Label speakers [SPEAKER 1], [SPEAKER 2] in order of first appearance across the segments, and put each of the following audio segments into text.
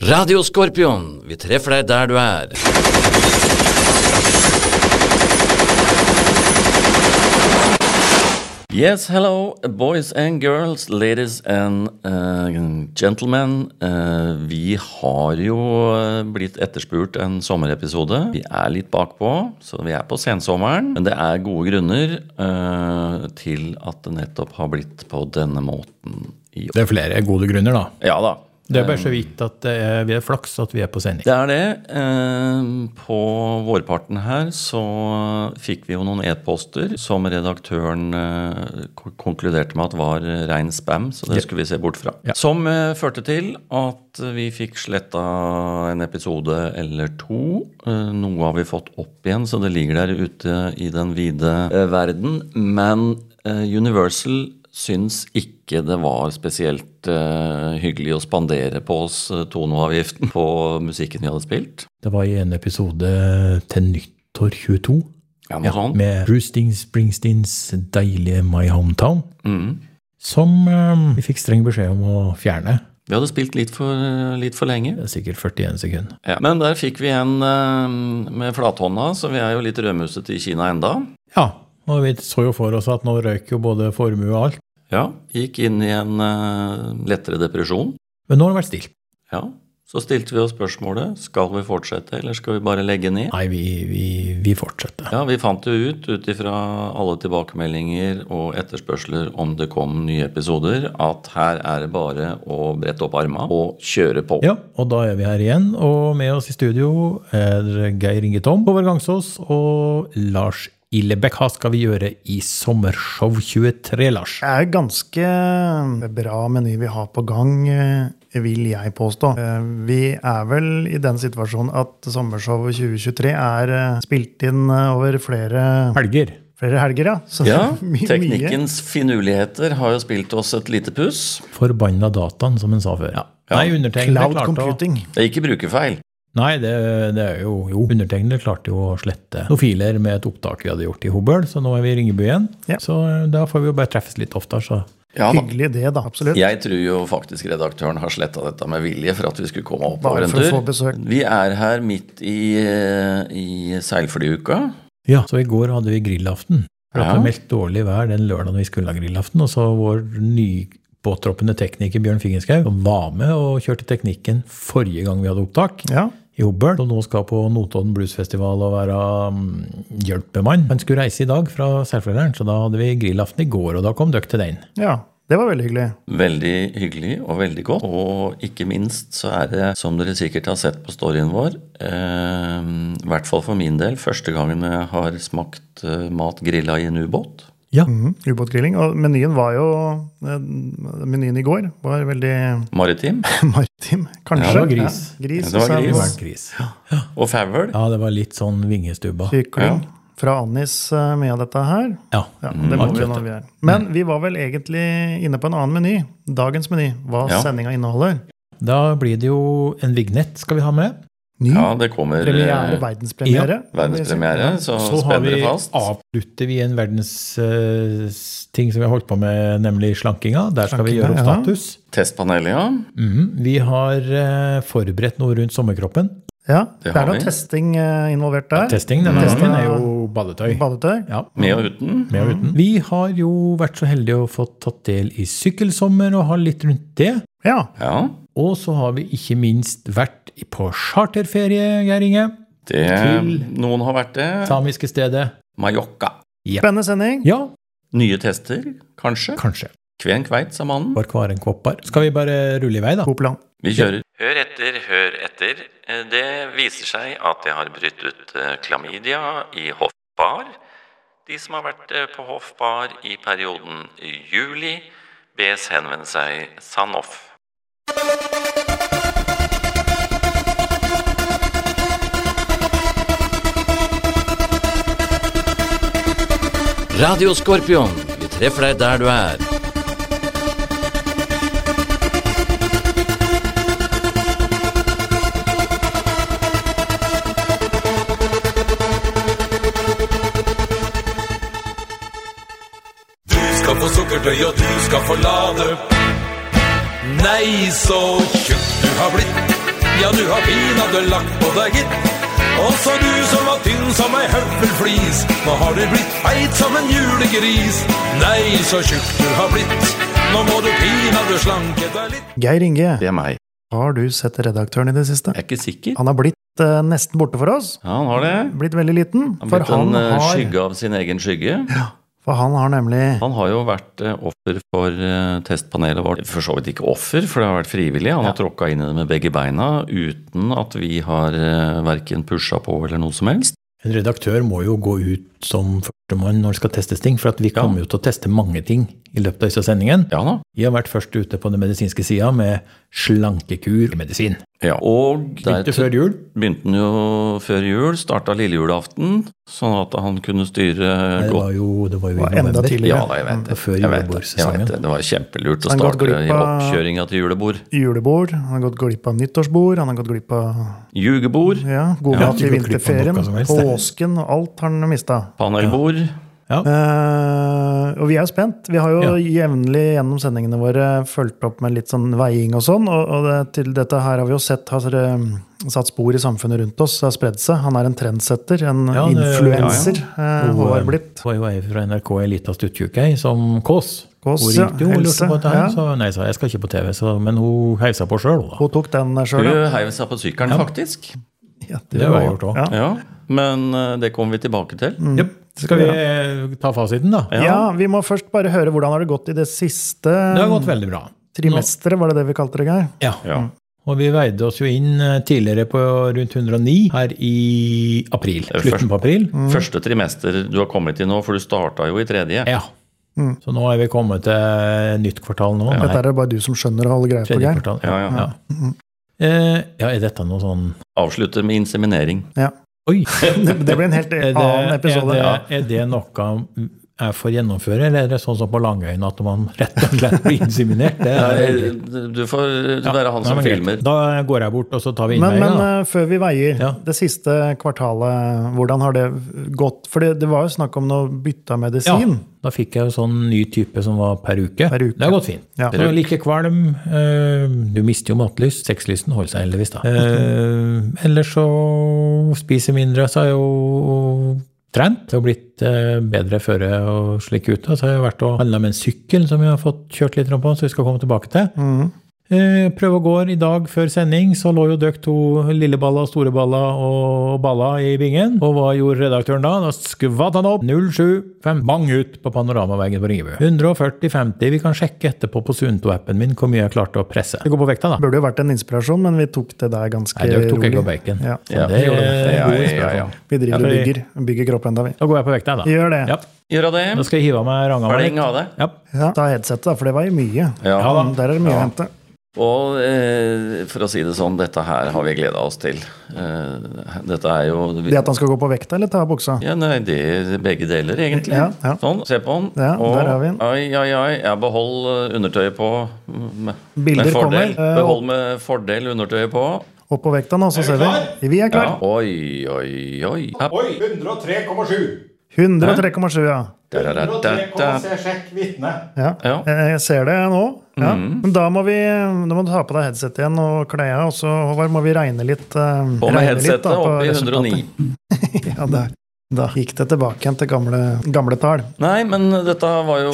[SPEAKER 1] Radio Skorpion, vi treffer deg der du er.
[SPEAKER 2] Yes, hello, boys and girls, ladies and eh, gentlemen. Eh, vi har jo eh, blitt etterspurt en sommerepisode. Vi er litt bakpå, så vi er på sensommeren. Men det er gode grunner eh, til at det nettopp har blitt på denne måten i år.
[SPEAKER 3] Det er flere gode grunner, da.
[SPEAKER 2] Ja da.
[SPEAKER 3] Det er bare så vidt at det er, vi er flaks at vi er på sending.
[SPEAKER 2] Det er det. Eh, På vårparten her så fikk vi jo noen e-poster som redaktøren eh, ko- konkluderte med at var rein spam, så det skulle vi se bort fra.
[SPEAKER 3] Ja.
[SPEAKER 2] Som eh, førte til at vi fikk sletta en episode eller to. Eh, Noe har vi fått opp igjen, så det ligger der ute i den vide eh, verden. Men eh, Universal syns ikke det var spesielt eh, hyggelig å spandere på oss eh, toneavgiften på musikken vi hadde spilt.
[SPEAKER 3] Det var i en episode til nyttår 22
[SPEAKER 2] Ja, noe
[SPEAKER 3] ja,
[SPEAKER 2] sånt.
[SPEAKER 3] med Bruce Springsteens deilige My Hometown,
[SPEAKER 2] Mm.
[SPEAKER 3] som eh, vi fikk streng beskjed om å fjerne.
[SPEAKER 2] Vi hadde spilt litt for, litt for lenge.
[SPEAKER 3] Det er sikkert 41 sekunder.
[SPEAKER 2] Ja. Men der fikk vi en eh, med flathånda, så vi er jo litt rødmusete i Kina enda.
[SPEAKER 3] Ja, og vi så jo for oss at nå røyk jo både formue og alt.
[SPEAKER 2] Ja, Gikk inn i en eh, lettere depresjon.
[SPEAKER 3] Men nå har det vært stilt.
[SPEAKER 2] Ja. Så stilte vi oss spørsmålet skal vi fortsette, eller skal vi bare legge ned?
[SPEAKER 3] Nei, vi, vi, vi fortsetter.
[SPEAKER 2] Ja, Vi fant jo ut ut ifra alle tilbakemeldinger og etterspørsler om det kom nye episoder, at her er det bare å brette opp arma og kjøre på.
[SPEAKER 3] Ja, og da er vi her igjen, og med oss i studio er Geir Inge Tom, Håvard Gangsås og Lars Illebekk. Hva skal vi gjøre i Sommershow 23, Lars?
[SPEAKER 4] Det er ganske eh, bra meny vi har på gang, eh, vil jeg påstå. Eh, Vi er vel i den situasjonen at sommershowet 2023 er eh, spilt inn eh, over flere,
[SPEAKER 3] Helger.
[SPEAKER 4] flere helger, ja. Så
[SPEAKER 2] Ja,
[SPEAKER 4] my- mye.
[SPEAKER 2] Teknikkens finurligheter har jo spilt oss et lite puss.
[SPEAKER 3] Forbanna dataen, som en sa før. Nei, undertegnede
[SPEAKER 4] Cloud
[SPEAKER 3] klarte å
[SPEAKER 4] computing.
[SPEAKER 2] Det er ikke brukerfeil.
[SPEAKER 3] Nei, det, det er jo Jo, undertegnede klarte jo å slette noen filer med et opptak vi hadde gjort i Hobøl, så nå er vi i Ringebu igjen.
[SPEAKER 4] Ja.
[SPEAKER 3] Så eh, da får vi jo bare treffes litt oftere, så
[SPEAKER 2] Ja, da.
[SPEAKER 4] Hyggelig det, da. Absolutt.
[SPEAKER 2] Jeg tror jo faktisk redaktøren har sletta dette med vilje for at vi skulle komme oppover
[SPEAKER 4] Bare
[SPEAKER 2] en
[SPEAKER 4] for å
[SPEAKER 2] tur.
[SPEAKER 4] få besøk.
[SPEAKER 2] Vi er her midt i, eh, i seilflyuka.
[SPEAKER 3] Ja, så i går hadde vi grillaften. For at
[SPEAKER 2] Ja.
[SPEAKER 3] Det var meldt dårlig vær den lørdagen vi skulle ha grillaften. Og så vår nypåtroppende tekniker Bjørn Fingenskaug som var med og kjørte teknikken forrige gang vi hadde opptak.
[SPEAKER 4] Ja.
[SPEAKER 3] I Hobøl, som nå skal på Notodden Bluesfestival og være um, hjelpemann. Han skulle reise i dag fra Seilfjelleren, så da hadde vi grillaften i går, og da kom dere til den.
[SPEAKER 4] ja. Det var veldig hyggelig.
[SPEAKER 2] Veldig hyggelig og veldig godt. Og ikke minst så er det, som dere sikkert har sett på storyen vår, eh, i hvert fall for min del, første gangen jeg har smakt eh, mat grilla i en ubåt.
[SPEAKER 3] Ja,
[SPEAKER 4] Mhm, Ubåtgrilling. Og menyen var jo eh, Menyen i går var veldig
[SPEAKER 2] Maritim
[SPEAKER 4] maritim, kanskje.
[SPEAKER 3] Ja, det var gris.
[SPEAKER 4] Ja, gris
[SPEAKER 3] det
[SPEAKER 2] Ja, det var gris.
[SPEAKER 4] og sau
[SPEAKER 3] var
[SPEAKER 4] og
[SPEAKER 3] en gris.
[SPEAKER 2] og favel.
[SPEAKER 3] Ja, det var litt sånn vingestubba.
[SPEAKER 4] Kykling
[SPEAKER 2] Ja. Mm.
[SPEAKER 4] fra Annis eh, med dette her.
[SPEAKER 3] Ja.
[SPEAKER 4] Ja, det må vi når vi er. Men vi var vel egentlig inne på en annen meny. Dagens meny. Hva
[SPEAKER 2] Ja.
[SPEAKER 4] sendinga inneholder.
[SPEAKER 3] Da blir det jo en vignett skal vi ha med.
[SPEAKER 4] Ny
[SPEAKER 2] Ja, det kommer eh,
[SPEAKER 4] Mm. premiere, verdenspremiere.
[SPEAKER 2] verdenspremiere, så,
[SPEAKER 3] Så har
[SPEAKER 2] spenn
[SPEAKER 3] vi,
[SPEAKER 2] dere fast.
[SPEAKER 3] avslutter vi en verdens eh, ting som vi har holdt på med, nemlig slankinga. Der skal vi gjøre
[SPEAKER 4] Slankinga,
[SPEAKER 3] opp
[SPEAKER 4] ja.
[SPEAKER 3] status.
[SPEAKER 2] Testpanelet, ja.
[SPEAKER 3] Mhm. Vi har eh, forberedt noe rundt sommerkroppen.
[SPEAKER 4] Ja,
[SPEAKER 2] Det
[SPEAKER 4] det
[SPEAKER 2] har
[SPEAKER 4] er noe
[SPEAKER 2] vi.
[SPEAKER 4] testing eh, involvert der. Mm.
[SPEAKER 3] Testing denne
[SPEAKER 4] Testing,
[SPEAKER 3] gangen er
[SPEAKER 4] ja. Mm.
[SPEAKER 3] jo badetøy.
[SPEAKER 4] Badetøy.
[SPEAKER 3] Ja,
[SPEAKER 2] Med og uten.
[SPEAKER 3] med og uten. Vi har jo vært så heldige å få tatt del i sykkelsommer og har litt rundt det.
[SPEAKER 4] Ja.
[SPEAKER 2] Ja,
[SPEAKER 3] Og så har vi ikke minst vært i- på charterferie, Geir Inge.
[SPEAKER 2] det
[SPEAKER 3] Til-
[SPEAKER 2] Noen har vært det.
[SPEAKER 3] Samiske stedet.
[SPEAKER 2] Mallorca.
[SPEAKER 4] Spennende sending.
[SPEAKER 3] Ja,
[SPEAKER 2] Nye tester, kanskje.
[SPEAKER 3] kanskje.
[SPEAKER 2] Kven kveit, sa mannen.
[SPEAKER 3] Barkvarenkvoppar. Skal vi bare rulle i vei, da?
[SPEAKER 4] God plan.
[SPEAKER 2] Vi kjører. Hør etter, hør etter. Eh, Det viser seg at jeg har brytt ut eh, klamydia i hoffbar. De som har vært eh, på hoffbar i perioden juli, bes henvende seg Sanoff.
[SPEAKER 1] Radio Skorpion, vi treffer deg der du er.
[SPEAKER 5] Du skal få sukkertøy, og du skal få lade. Nei, så tjukk du har blitt. Ja, du har pinadø lagt på deg, gitt. Også du som var tynn som ei høvelflis. Nå har du blitt feit som en julegris. Nei, så tjukk du har blitt. Nå må du pinadø slanke deg litt.
[SPEAKER 4] Geir Inge,
[SPEAKER 2] Det er meg.
[SPEAKER 4] har du sett redaktøren i det siste?
[SPEAKER 2] Jeg er ikke sikker.
[SPEAKER 4] Han har blitt eh, nesten borte for oss.
[SPEAKER 2] Ja, han har det.
[SPEAKER 4] Blitt veldig liten.
[SPEAKER 2] Han
[SPEAKER 4] For
[SPEAKER 2] har blitt en
[SPEAKER 4] han
[SPEAKER 2] eh,
[SPEAKER 4] har,
[SPEAKER 2] skygge av sin egen skygge.
[SPEAKER 4] for han har nemlig
[SPEAKER 2] Han har jo vært eh, offer for eh, testpanelet vårt. For så vidt ikke offer, for det har vært frivillig. Han har tråkka inn i det med begge beina uten at vi har eh, verken pusha på eller noe som helst.
[SPEAKER 3] En redaktør må jo gå ut som førstemann når det skal testes ting, for at vi kommer jo til å teste mange ting i løpet av disse sendingene.
[SPEAKER 2] Ja da.
[SPEAKER 3] Vi har vært først ute på den medisinske sida med slankekur og medisin.
[SPEAKER 2] Ja. Og der
[SPEAKER 3] Begynte før jul.
[SPEAKER 2] begynte han jo før jul, starta lille julaften, sånn at han kunne styre
[SPEAKER 3] Det
[SPEAKER 2] godt.
[SPEAKER 3] var jo, det var jo
[SPEAKER 4] var
[SPEAKER 3] i
[SPEAKER 4] enda
[SPEAKER 3] november.
[SPEAKER 4] tidligere.
[SPEAKER 2] Ja, da, jeg vet det.
[SPEAKER 3] Det var før
[SPEAKER 2] Jeg vet det. Jeg
[SPEAKER 3] julebordsesongen.
[SPEAKER 2] vet det. det var kjempelurt å
[SPEAKER 4] Han har gått
[SPEAKER 2] starte i
[SPEAKER 4] glipp av-
[SPEAKER 2] oppkjøringa til julebord.
[SPEAKER 4] julebord, han har gått glipp av nyttårsbord, han har gått glipp av
[SPEAKER 2] Jugebord,
[SPEAKER 4] ja, god
[SPEAKER 3] Ja,
[SPEAKER 4] mat i
[SPEAKER 3] ikke gått glipp av
[SPEAKER 4] vinterferien,
[SPEAKER 3] noe som helst.
[SPEAKER 4] påsken og alt har han mista.
[SPEAKER 2] panelbord.
[SPEAKER 4] Eh, og vi er jo spent. Vi har jo jevnlig gjennom sendingene våre fulgt opp med litt sånn veiing og sånn. Og, og det, til dette her har vi jo sett har eh, satt spor i samfunnet rundt oss. Det har spredd seg. Han er en trendsetter, en
[SPEAKER 3] Ja, det-
[SPEAKER 4] influenser. eh,
[SPEAKER 3] Og,
[SPEAKER 4] Håvard
[SPEAKER 3] eh,
[SPEAKER 4] Blipp.
[SPEAKER 3] Det var jo ei fra NRK, ei lita stuttjukke ei, som Kås.
[SPEAKER 4] Kås,
[SPEAKER 3] hun
[SPEAKER 4] ja,
[SPEAKER 3] ringte jo og
[SPEAKER 4] helse,
[SPEAKER 3] lurte på dette.
[SPEAKER 4] ja.
[SPEAKER 3] her, Så, nei, sa jeg skal ikke på TV, så, men hun heisa på sjøl, da.
[SPEAKER 4] Hun tok den eh, sjøl,
[SPEAKER 2] Hun
[SPEAKER 4] ja.
[SPEAKER 2] heiv seg på sykkelen, faktisk.
[SPEAKER 4] ja.
[SPEAKER 3] Det har jeg gjort òg.
[SPEAKER 4] Ja.
[SPEAKER 2] Ja, Men eh, det kommer vi tilbake til.
[SPEAKER 3] Mm. Skal vi eh, ta fasiten, da?
[SPEAKER 2] Ja.
[SPEAKER 4] Ja, vi må først bare høre hvordan har det gått i det siste
[SPEAKER 3] Det har gått veldig bra.
[SPEAKER 4] trimesteret, var det det vi kalte det, Geir?
[SPEAKER 3] Ja.
[SPEAKER 2] Ja.
[SPEAKER 3] Og vi veide oss jo inn eh, tidligere på rundt 109 her i april.
[SPEAKER 2] er
[SPEAKER 3] Slutten på april.
[SPEAKER 4] Mm.
[SPEAKER 2] Første Mm. trimester du har kommet i nå, for du starta jo i tredje.
[SPEAKER 3] Ja. Så nå er vi kommet til nytt kvartal nå.
[SPEAKER 4] Dette er det bare du som skjønner å holde greie på,
[SPEAKER 3] tredje
[SPEAKER 4] Geir.
[SPEAKER 3] kvartal.
[SPEAKER 2] Ja, ja.
[SPEAKER 3] Eh, ja, er dette noe sånn
[SPEAKER 2] Avslutte med inseminering.
[SPEAKER 3] Oi!
[SPEAKER 4] Det blir en helt
[SPEAKER 3] Er det,
[SPEAKER 4] annen episode.
[SPEAKER 3] er det, er det noe jeg får gjennomføre, eller er det sånn som på Langøyen at man rett og slett blir inseminert? Det er,
[SPEAKER 2] Du får
[SPEAKER 3] Ja,
[SPEAKER 2] være han
[SPEAKER 3] nei,
[SPEAKER 2] som
[SPEAKER 3] men greit.
[SPEAKER 2] filmer.
[SPEAKER 3] Da går jeg bort, og så tar vi
[SPEAKER 4] Men,
[SPEAKER 3] innveier.
[SPEAKER 4] men
[SPEAKER 3] da.
[SPEAKER 4] eh, før vi veier,
[SPEAKER 3] Ja.
[SPEAKER 4] det siste kvartalet, hvordan har det gått? For det, det var jo snakk om noe bytte av
[SPEAKER 3] Ja,
[SPEAKER 4] medisin.
[SPEAKER 3] da fikk jeg jo sånn ny type som var per uke.
[SPEAKER 4] Per uke.
[SPEAKER 3] Det har gått fint.
[SPEAKER 4] Ja.
[SPEAKER 3] Så like kvalm. eh, Du mister jo matlyst. Sexlysten holder seg heldigvis, da. Eh, Ellers så spiser mindre, så har jeg jo trent. Det har blitt eh, bedre føre og slik ute. Så har jeg vært og handla med en sykkel som jeg har fått kjørt litt rundt på, så vi skal komme tilbake til. Eh, Prøve og går i dag før sending, så lå jo døkk to lille baller, store baller og baller i bingen. Og hva gjorde redaktøren da? Da skvatt han opp 075, bang ut på panoramaveggen på Ringebu. 140-50, vi kan sjekke etterpå på Sunto-appen min hvor mye jeg klarte å presse. Det går på vekta, da.
[SPEAKER 4] Burde jo vært en inspirasjon, men vi tok det der ganske
[SPEAKER 3] Nei, døkk tok
[SPEAKER 4] rolig.
[SPEAKER 3] jeg på bacon.
[SPEAKER 4] Ja.
[SPEAKER 3] Så det er
[SPEAKER 2] Ja,
[SPEAKER 3] god
[SPEAKER 2] ja, ja, ja.
[SPEAKER 3] inspirasjon.
[SPEAKER 4] Vi driver
[SPEAKER 3] Ja,
[SPEAKER 4] og
[SPEAKER 3] fordi-
[SPEAKER 4] bygger, bygger kropp enda, vi.
[SPEAKER 3] Da går jeg på vekta, da.
[SPEAKER 4] Gjør det.
[SPEAKER 3] Ja.
[SPEAKER 2] Gjør av det.
[SPEAKER 3] Da skal jeg hive av meg ranga.
[SPEAKER 2] Pling av det.
[SPEAKER 3] Ja.
[SPEAKER 4] Ja. Ta headsetet, da, for det var jo mye.
[SPEAKER 2] Ja.
[SPEAKER 3] Ja, da.
[SPEAKER 4] Mm, Der er det mye å hente.
[SPEAKER 2] Og eh, for å si det sånn, dette her har vi gleda oss til. Eh, dette er jo
[SPEAKER 4] Det at han skal gå på vekta, eller ta av buksa?
[SPEAKER 2] ja, nei, det er begge deler, egentlig.
[SPEAKER 4] Ja, ja.
[SPEAKER 2] Sånn, se på den.
[SPEAKER 4] Ja, der har vi den.
[SPEAKER 2] Ai, ai, ai. Ja, behold eh, undertøyet på. mm, Med,
[SPEAKER 4] Bilder
[SPEAKER 2] med fordel.
[SPEAKER 4] kommer. Eh,
[SPEAKER 2] Behold med fordel undertøyet på.
[SPEAKER 4] Opp på vekta nå, så ser vi. Vi
[SPEAKER 2] Ja.
[SPEAKER 4] er klar.
[SPEAKER 2] Oi, oi, oi. Ja.
[SPEAKER 6] Oi, 103,7.
[SPEAKER 4] 103,7, ja.
[SPEAKER 2] Da, da, da, da, da.
[SPEAKER 6] 103,6 sjekk vitne.
[SPEAKER 4] ja.
[SPEAKER 2] Ja. Mm.
[SPEAKER 4] Eh, Jeg ser det nå. Ja. Men da må vi da må du ta på deg headsetet igjen og kle av, og så Håvard, må vi regne litt.
[SPEAKER 2] På med headsetet opp i 109.
[SPEAKER 4] Ja, der. Da gikk det tilbake igjen til gamle, gamle tall.
[SPEAKER 2] Nei, men dette var jo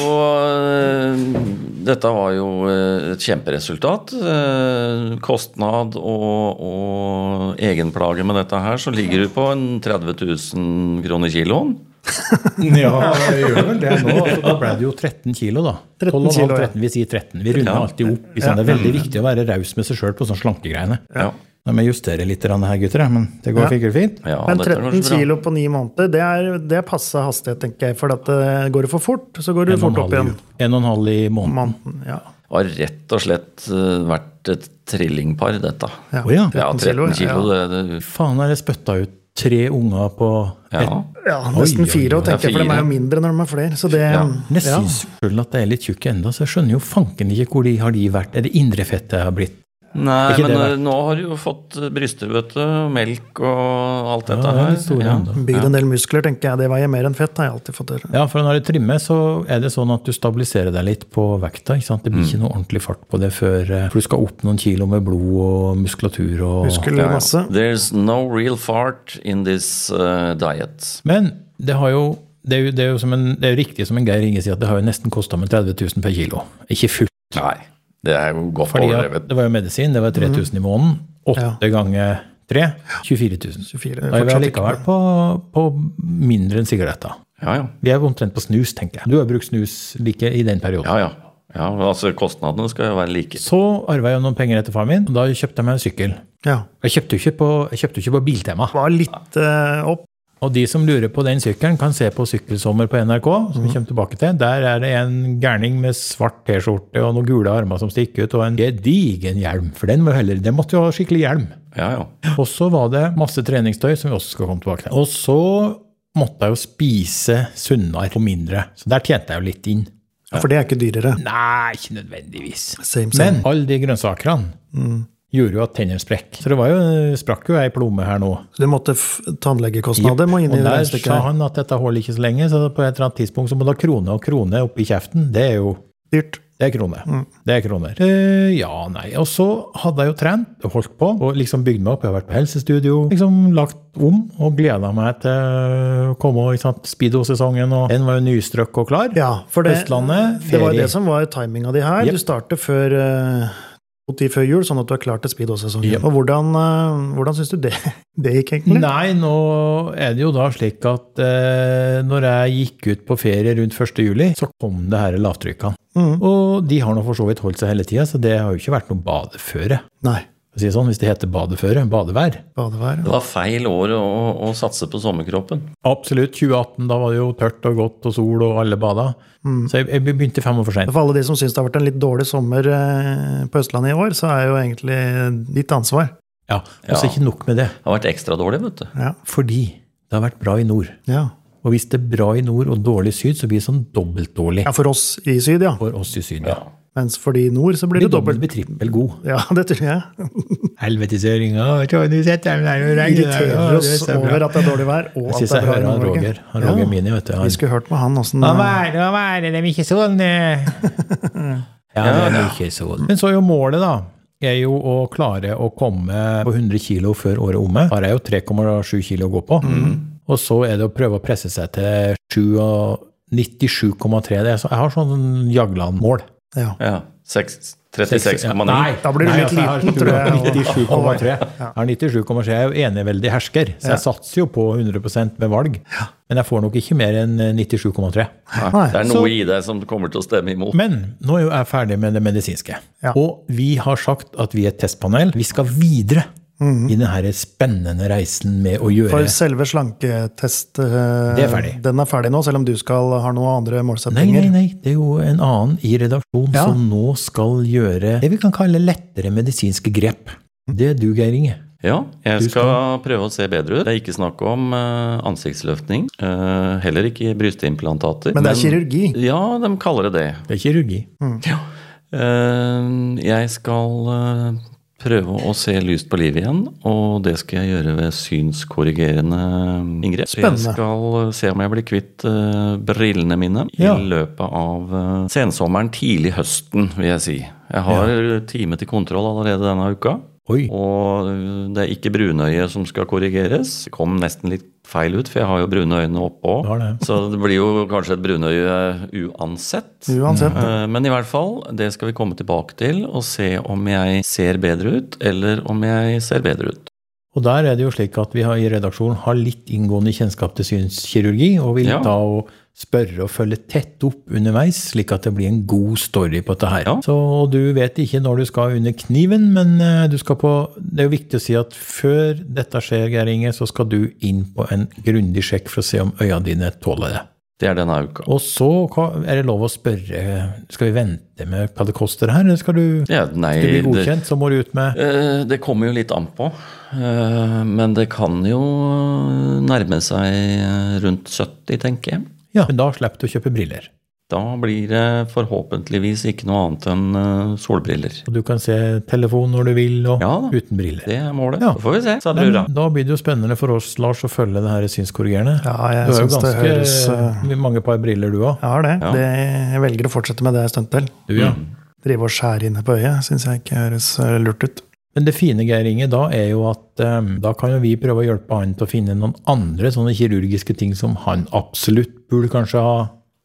[SPEAKER 2] eh, Dette var jo eh, et kjemperesultat. Eh, Kostnad og, og egenplage med dette her, så ligger du på en 30 000 kroner kiloen.
[SPEAKER 3] ja, det gjør vel det nå. Så da ble det jo 13 kilo, da.
[SPEAKER 4] 13
[SPEAKER 3] 12,5,
[SPEAKER 4] kilo, ja.
[SPEAKER 3] 13, vi sier 13. Vi runder
[SPEAKER 2] Ja.
[SPEAKER 3] alltid opp. Liksom. Det er veldig viktig å være raus med seg sjøl på sånne slankegreiene.
[SPEAKER 2] Ja.
[SPEAKER 3] Nå må jeg justere litt grann her, gutter, jeg, men det går sikkert fint.
[SPEAKER 2] Ja,
[SPEAKER 4] Men
[SPEAKER 2] dette er
[SPEAKER 4] 13
[SPEAKER 2] kanskje bra.
[SPEAKER 4] kilo på ni måneder, det er, det er passe hastighet, tenker jeg. For at eh, går det for fort, så går du
[SPEAKER 3] En og en
[SPEAKER 4] fort opp
[SPEAKER 3] halv
[SPEAKER 4] igjen.
[SPEAKER 3] i- En og en halv i måneden.
[SPEAKER 4] Måneden, ja.
[SPEAKER 2] Har rett og slett eh, vært et trillingpar, dette.
[SPEAKER 4] Ja.
[SPEAKER 3] Å ja.
[SPEAKER 2] Ja,
[SPEAKER 4] 13
[SPEAKER 2] 13 kilo,
[SPEAKER 4] kilo,
[SPEAKER 2] det, det
[SPEAKER 3] Faen, er det spytta ut tre unger på
[SPEAKER 2] Ja.
[SPEAKER 4] ja,
[SPEAKER 3] Oi,
[SPEAKER 4] nesten
[SPEAKER 3] oi,
[SPEAKER 4] fire,
[SPEAKER 3] oi.
[SPEAKER 4] og tenker jeg, for de er jo
[SPEAKER 2] Fire.
[SPEAKER 4] mindre når de er flere. Så det
[SPEAKER 2] Ja.
[SPEAKER 3] Nesten ja. sjøl at jeg er litt tjukk ennå, så jeg skjønner jo fanken ikke hvor de har de vært. Er det indrefettet jeg har blitt?
[SPEAKER 2] Nei,
[SPEAKER 3] Ikke
[SPEAKER 2] men
[SPEAKER 3] det, nei.
[SPEAKER 2] eh, nå har du jo fått eh, bryster, vet du. Melk og alt
[SPEAKER 3] Ja,
[SPEAKER 2] dette
[SPEAKER 3] det er
[SPEAKER 2] her.
[SPEAKER 3] litt store
[SPEAKER 2] ja.
[SPEAKER 3] ennå.
[SPEAKER 4] Bygd en del muskler, tenker jeg. Det veier mer enn fett, har jeg alltid fått høre.
[SPEAKER 3] Ja, for når du trimmer, så er det sånn at du stabiliserer deg litt på vekta. ikke sant? Det blir
[SPEAKER 2] Mm.
[SPEAKER 3] ikke noe ordentlig fart på det før eh, For du skal opp noen kilo med blod og muskulatur og
[SPEAKER 4] Muskel masse.
[SPEAKER 2] There's no real fart in this eh, diet.
[SPEAKER 3] Men det, har jo, det, er jo, det, er jo som en, det er jo riktig som en Geir Inge sier, at det har jo nesten kosta meg 30 000 per kilo. Ikke fullt,
[SPEAKER 2] Nei, det er jo godt
[SPEAKER 3] fordi at
[SPEAKER 2] overdrevet. Mm.
[SPEAKER 3] det var jo medisin. Det var 3000 i måneden. Åtte ganger tre 24 000. da er
[SPEAKER 4] 24,
[SPEAKER 3] vi
[SPEAKER 4] fortsatt ikke
[SPEAKER 3] allikevel på, på mindre enn sigaretter.
[SPEAKER 2] Ja, ja.
[SPEAKER 3] Vi er omtrent på snus, tenker jeg. Du har brukt snus like i den perioden.
[SPEAKER 2] Ja, ja. ja altså, kostnadene skal jo være like.
[SPEAKER 3] Så arva jeg noen penger etter faren min, og da kjøpte jeg meg en sykkel.
[SPEAKER 4] Ja.
[SPEAKER 3] Jeg kjøpte jo ikke på, jeg kjøpte jo ikke på Biltema.
[SPEAKER 4] Var litt eh, opp.
[SPEAKER 3] Og de som lurer på den sykkelen, kan se på Sykkelsommer på NRK, som vi kommer tilbake til. Der er det en gærning med svart T-skjorte og noen gule armer som stikker ut, og en gedigen hjelm. For den må heller, den måtte jo ha skikkelig hjelm.
[SPEAKER 2] Ja, ja.
[SPEAKER 3] Og så var det masse treningstøy, som vi også skal komme tilbake til. Og så måtte jeg jo spise sunnere og mindre. Så der tjente jeg jo litt inn.
[SPEAKER 4] For det er ikke dyrere.
[SPEAKER 3] Nei, ikke nødvendigvis.
[SPEAKER 4] Same,
[SPEAKER 3] Men
[SPEAKER 4] same.
[SPEAKER 3] alle de grønnsakene
[SPEAKER 4] Mm.
[SPEAKER 3] gjorde jo at tennene sprekk. Så det var jo, sprakk jo ei plomme her nå.
[SPEAKER 4] Så du måtte f tannlegekostnader må inn
[SPEAKER 3] Og
[SPEAKER 4] i
[SPEAKER 3] der
[SPEAKER 4] regnestykket.
[SPEAKER 3] sa
[SPEAKER 4] her.
[SPEAKER 3] han at dette holder ikke så lenge, så på et eller annet tidspunkt så må du ha krone og krone oppi kjeften. Det er jo
[SPEAKER 4] Dyrt.
[SPEAKER 3] det er kroner.
[SPEAKER 4] Mm.
[SPEAKER 3] Det er kroner. Eh, ja, nei. Og så hadde jeg jo trent og holdt på og liksom bygd meg opp. Jeg har vært på helsestudio, liksom lagt om og gleda meg til å komme og ikke sant, speedo-sesongen. og Den var jo nystrøkk og klar.
[SPEAKER 4] Ja, for det,
[SPEAKER 3] Østlandet, ferie.
[SPEAKER 4] det var jo det som var timinga di her.
[SPEAKER 3] Jep.
[SPEAKER 4] Du starter før uh, tid før jul, sånn at du er klar til speedo-sesongen.
[SPEAKER 3] Jep.
[SPEAKER 4] Og hvordan, eh, hvordan syns du det, det gikk, egentlig?
[SPEAKER 3] Nei, nå er det jo da slik at eh, når jeg gikk ut på ferie rundt 1. juli, så kom det her lavtrykkene.
[SPEAKER 4] Mhm.
[SPEAKER 3] Og de har nå for så vidt holdt seg hele tida, så det har jo ikke vært noe badeføre.
[SPEAKER 4] Nei.
[SPEAKER 3] For å si det sånn, hvis det heter badeføre, badevær.
[SPEAKER 4] Badevær.
[SPEAKER 2] Det var feil år å, å satse på sommerkroppen.
[SPEAKER 3] Absolutt. 2018, da var det jo tørt og godt og sol, og alle bada. Så jeg, jeg begynte fem år for seint.
[SPEAKER 4] For alle de som syns det har vært en litt dårlig sommer eh, på Østlandet i år, så er jo egentlig ditt ansvar.
[SPEAKER 3] Ja, og så
[SPEAKER 2] Ja.
[SPEAKER 3] ikke nok med det.
[SPEAKER 2] Det har vært ekstra dårlig, vet du.
[SPEAKER 4] Ja.
[SPEAKER 3] Fordi det har vært bra i nord.
[SPEAKER 4] Ja,
[SPEAKER 3] Og hvis det er bra i nord og dårlig i syd, så blir det sånn dobbelt dårlig
[SPEAKER 4] ja for oss i syd, ja.
[SPEAKER 3] for oss i syd. Ja.
[SPEAKER 4] Mens for de i nord så blir
[SPEAKER 3] Blir
[SPEAKER 4] det dobbelt.
[SPEAKER 3] dobbelt blir trippel god.
[SPEAKER 4] Ja, det tror jeg.
[SPEAKER 3] Helvetesøringa!
[SPEAKER 4] Irriterer oss over at det er dårlig vær, og
[SPEAKER 3] Jeg
[SPEAKER 4] at
[SPEAKER 3] syns jeg
[SPEAKER 4] det er bra i
[SPEAKER 3] hører han
[SPEAKER 4] Nord-Norge.
[SPEAKER 3] Roger, han Roger
[SPEAKER 4] Ja.
[SPEAKER 3] Mini, vet du.
[SPEAKER 4] Vi
[SPEAKER 3] Han.
[SPEAKER 4] skulle hørt med han åssen
[SPEAKER 3] Hva var det de ikke sånn? Ja, det er ikke sånn. Men så er jo målet, da. Er jo å klare å komme på 100 kilo før året omme. Har jeg jo 3,7 kilo å gå på. Og så er det å prøve å presse seg til 7 og 97,3. Det er så- Jeg har sånn Jagland-mål.
[SPEAKER 4] ja.
[SPEAKER 2] Ja. Seks- 36,9.
[SPEAKER 3] Nei,
[SPEAKER 4] Da blir du
[SPEAKER 3] nei,
[SPEAKER 4] litt
[SPEAKER 3] altså, jeg har
[SPEAKER 4] liten, tror jeg.
[SPEAKER 3] 97,3. Jeg har 97,3. Jeg er jo eneveldig hersker, så jeg satser jo på 100 med valg. Men jeg får nok ikke mer enn 97,3.
[SPEAKER 2] Nei, Det er noe i deg som kommer til å stemme imot.
[SPEAKER 3] Men nå er jo jeg ferdig med det medisinske.
[SPEAKER 4] Ja.
[SPEAKER 3] Og vi har sagt at vi er et testpanel. Vi skal videre i denne spennende reisen med å gjøre
[SPEAKER 4] For selve slanketest eh,
[SPEAKER 3] Det er ferdig.
[SPEAKER 4] Den er ferdig nå, selv om du skal ha noen andre
[SPEAKER 3] Nei,
[SPEAKER 4] målsettinger.
[SPEAKER 3] nei, nei. Det er jo en annen i redaksjonen
[SPEAKER 4] Ja.
[SPEAKER 3] som nå skal gjøre det vi kan kalle lettere medisinske grep. Det er du, Geir Inge.
[SPEAKER 2] Ja, jeg skal prøve å se bedre ut. Det er ikke snakk om eh, ansiktsløftning. eh, heller ikke brystimplantater.
[SPEAKER 4] Men det er kirurgi.
[SPEAKER 2] Ja, de kaller det det.
[SPEAKER 3] Det er kirurgi.
[SPEAKER 2] Eh, jeg skal eh, prøve å se lyst på livet igjen, og det skal jeg gjøre ved synskorrigerende inngrep. Så
[SPEAKER 4] Spennende.
[SPEAKER 2] Jeg skal eh, se om jeg blir kvitt eh, brillene mine
[SPEAKER 3] Ja.
[SPEAKER 2] i løpet av eh, sensommeren, tidlig høsten, vil jeg si. Jeg har eh, time til kontroll allerede denne uka.
[SPEAKER 3] Oi.
[SPEAKER 2] Og eh, det er ikke brunøyet som skal korrigeres. Det kom nesten litt feil ut, for jeg har jo brune øyne oppå.
[SPEAKER 3] Du har det.
[SPEAKER 2] Så det blir jo kanskje et brunøye uansett.
[SPEAKER 4] Uansett.
[SPEAKER 2] Eh, Men i hvert fall, det skal vi komme tilbake til og se om jeg ser bedre ut, eller om jeg ser bedre ut.
[SPEAKER 3] Og der er det jo slik at vi har, i redaksjonen har litt inngående kjennskap til synskirurgi, og vil
[SPEAKER 2] Ja.
[SPEAKER 3] da og spørre og følge tett opp underveis, slik at det blir en god story på dette her.
[SPEAKER 2] Ja.
[SPEAKER 3] Så du vet ikke når du skal under kniven, men eh, du skal på Det er jo viktig å si at før dette skjer, Geir Inge, så skal du inn på en grundig sjekk for å se om øya dine tåler det.
[SPEAKER 2] Det er denne uka.
[SPEAKER 3] Og så hva- er det lov å spørre Skal vi vente med hva det koster her, eller skal du,
[SPEAKER 2] Ja, nei,
[SPEAKER 3] skal du bli
[SPEAKER 2] det,
[SPEAKER 3] godkjent, så må du ut med
[SPEAKER 2] Eh, det kommer jo litt an på. Eh, Men det kan jo nærme seg eh, rundt 70, tenker jeg.
[SPEAKER 3] Ja, men da slipper du å kjøpe briller.
[SPEAKER 2] Da blir det forhåpentligvis ikke noe annet enn eh, solbriller.
[SPEAKER 3] Og du kan se telefon når du vil, og
[SPEAKER 2] Ja da.
[SPEAKER 3] uten briller.
[SPEAKER 2] Det er målet.
[SPEAKER 3] Ja.
[SPEAKER 2] Så får vi se, sa
[SPEAKER 3] Men
[SPEAKER 2] brura.
[SPEAKER 3] da blir det jo spennende for oss, Lars, å følge det her synskorrigerende.
[SPEAKER 4] Ja, jeg
[SPEAKER 3] du har jo
[SPEAKER 4] synes
[SPEAKER 3] ganske
[SPEAKER 4] det høres, eh,
[SPEAKER 3] mange par briller, du òg.
[SPEAKER 4] Jeg har det.
[SPEAKER 2] Ja.
[SPEAKER 4] det. Jeg velger å fortsette med det en stund til.
[SPEAKER 3] Du, ja.
[SPEAKER 4] Drive og skjære inne på øyet syns jeg ikke høres eh, lurt ut.
[SPEAKER 3] Men det fine, Geir Inge, da er jo at eh, da kan jo vi prøve å hjelpe han til å finne noen andre sånne kirurgiske ting som han absolutt burde kanskje ha.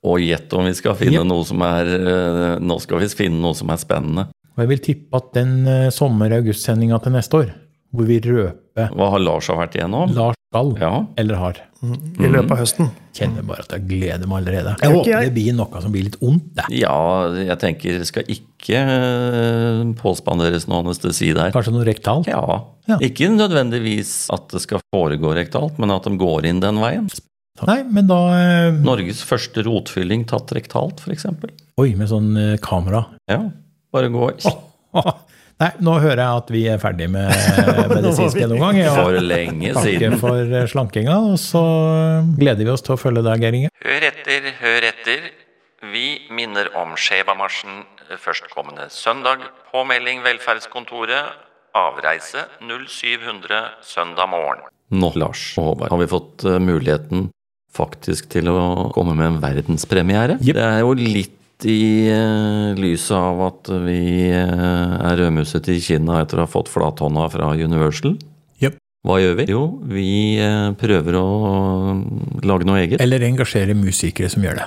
[SPEAKER 2] Og gjett om vi skal finne noe som er eh, Nå skal vi finne noe som er spennende.
[SPEAKER 3] Og jeg vil tippe at den eh, sommer-august-sendinga til neste år, hvor vi røper
[SPEAKER 2] Hva har Lars har vært igjennom?
[SPEAKER 3] Lars skal
[SPEAKER 2] Ja.
[SPEAKER 3] eller har,
[SPEAKER 4] I
[SPEAKER 3] Mhm.
[SPEAKER 4] løpet av høsten.
[SPEAKER 3] kjenner bare at jeg gleder meg allerede.
[SPEAKER 4] Ja,
[SPEAKER 3] Jeg
[SPEAKER 4] ikke
[SPEAKER 3] håper
[SPEAKER 4] jeg.
[SPEAKER 3] det blir noe som blir litt ondt, det.
[SPEAKER 2] ja, jeg tenker skal ikke eh, påspanderes noe anestesi der.
[SPEAKER 3] Kanskje noe rektalt.
[SPEAKER 2] Ja.
[SPEAKER 3] Ja.
[SPEAKER 2] Ikke nødvendigvis at det skal foregå rektalt, men at de går inn den veien.
[SPEAKER 3] Nei, men da eh,
[SPEAKER 2] Norges første rotfylling tatt rektalt, f.eks.
[SPEAKER 3] Oi, med sånn eh, kamera.
[SPEAKER 2] Ja, bare gå
[SPEAKER 3] Nei, nå hører jeg at vi er ferdig med eh, medisinsk gjennomgang. ja.
[SPEAKER 2] for lenge
[SPEAKER 3] Takke
[SPEAKER 2] siden.
[SPEAKER 3] for eh, slankinga, og så eh, gleder vi oss til å følge deg, Geir Inge.
[SPEAKER 2] Hør etter, hør etter. Vi minner om skjebamarsjen førstkommende søndag. Påmelding Velferdskontoret. Avreise 0700 søndag morgen. Nå, Lars og Håvard, har vi fått eh, muligheten faktisk til å komme med en verdenspremiere.
[SPEAKER 3] Jep.
[SPEAKER 2] Det er jo litt i eh, lyset av at vi eh, er rødmuset i Kina etter å ha fått flathånda fra Universal.
[SPEAKER 3] Jep.
[SPEAKER 2] Hva gjør vi? Jo, vi eh, prøver å eh, lage noe eget.
[SPEAKER 3] Eller engasjere musikere som gjør det.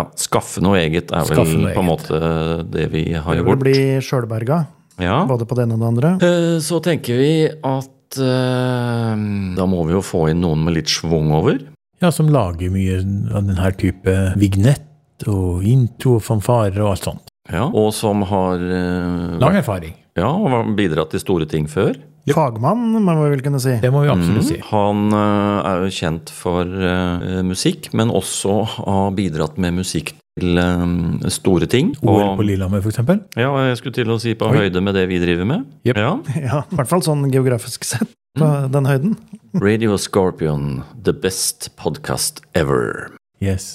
[SPEAKER 2] Ja, skaffe noe eget er vel
[SPEAKER 3] Skaffe noe
[SPEAKER 2] på
[SPEAKER 3] eget.
[SPEAKER 2] en måte det vi har
[SPEAKER 4] Det
[SPEAKER 2] gjort.
[SPEAKER 4] vil bli sjølberga,
[SPEAKER 2] Ja.
[SPEAKER 4] både på det ene og det andre.
[SPEAKER 2] Eh, Så tenker vi at eh, da må vi jo få inn noen med litt schwung over.
[SPEAKER 3] Ja, som lager mye av den her type vignett og intro og fanfarer og alt sånt.
[SPEAKER 2] Ja. Og som har eh,
[SPEAKER 3] Lang erfaring.
[SPEAKER 2] ja, og har bidratt til store ting før.
[SPEAKER 4] Fagmann, må vi vel kunne si.
[SPEAKER 3] Det må vi
[SPEAKER 2] Mm.
[SPEAKER 3] absolutt si.
[SPEAKER 2] Han eh, er jo kjent for eh, musikk, men også har bidratt med musikk til eh, store ting.
[SPEAKER 3] OL på Lillehammer, for eksempel.
[SPEAKER 2] ja, jeg skulle til å si på høyde med det vi driver med.
[SPEAKER 3] Jep.
[SPEAKER 2] Ja.
[SPEAKER 4] Ja, I hvert fall sånn geografisk sett, på
[SPEAKER 3] Mhm.
[SPEAKER 4] den høyden.
[SPEAKER 2] Radio Scorpion, the best podcast ever.
[SPEAKER 3] Yes.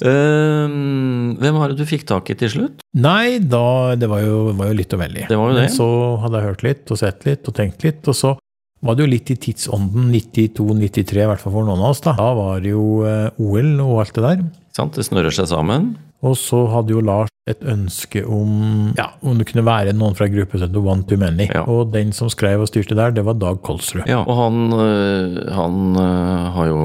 [SPEAKER 2] Ehm, hvem var det du fikk tak i til slutt?
[SPEAKER 3] Nei, da, det var jo, var jo litt og veldig.
[SPEAKER 2] Det var jo
[SPEAKER 3] Men
[SPEAKER 2] det.
[SPEAKER 3] så hadde jeg hørt litt og sett litt og tenkt litt, og så var det jo litt i tidsånden, 92-93 i hvert fall for noen av oss. Da Da var det jo eh, OL og alt det der.
[SPEAKER 2] Sant, det snører seg sammen.
[SPEAKER 3] Og så hadde jo Lars et ønske om ja, om det kunne være noen fra gruppesenteret One Too Many.
[SPEAKER 2] Ja.
[SPEAKER 3] Og den som skrev og styrte der, det var Dag Kolsrud.
[SPEAKER 2] Ja, og han, øh, han øh, har jo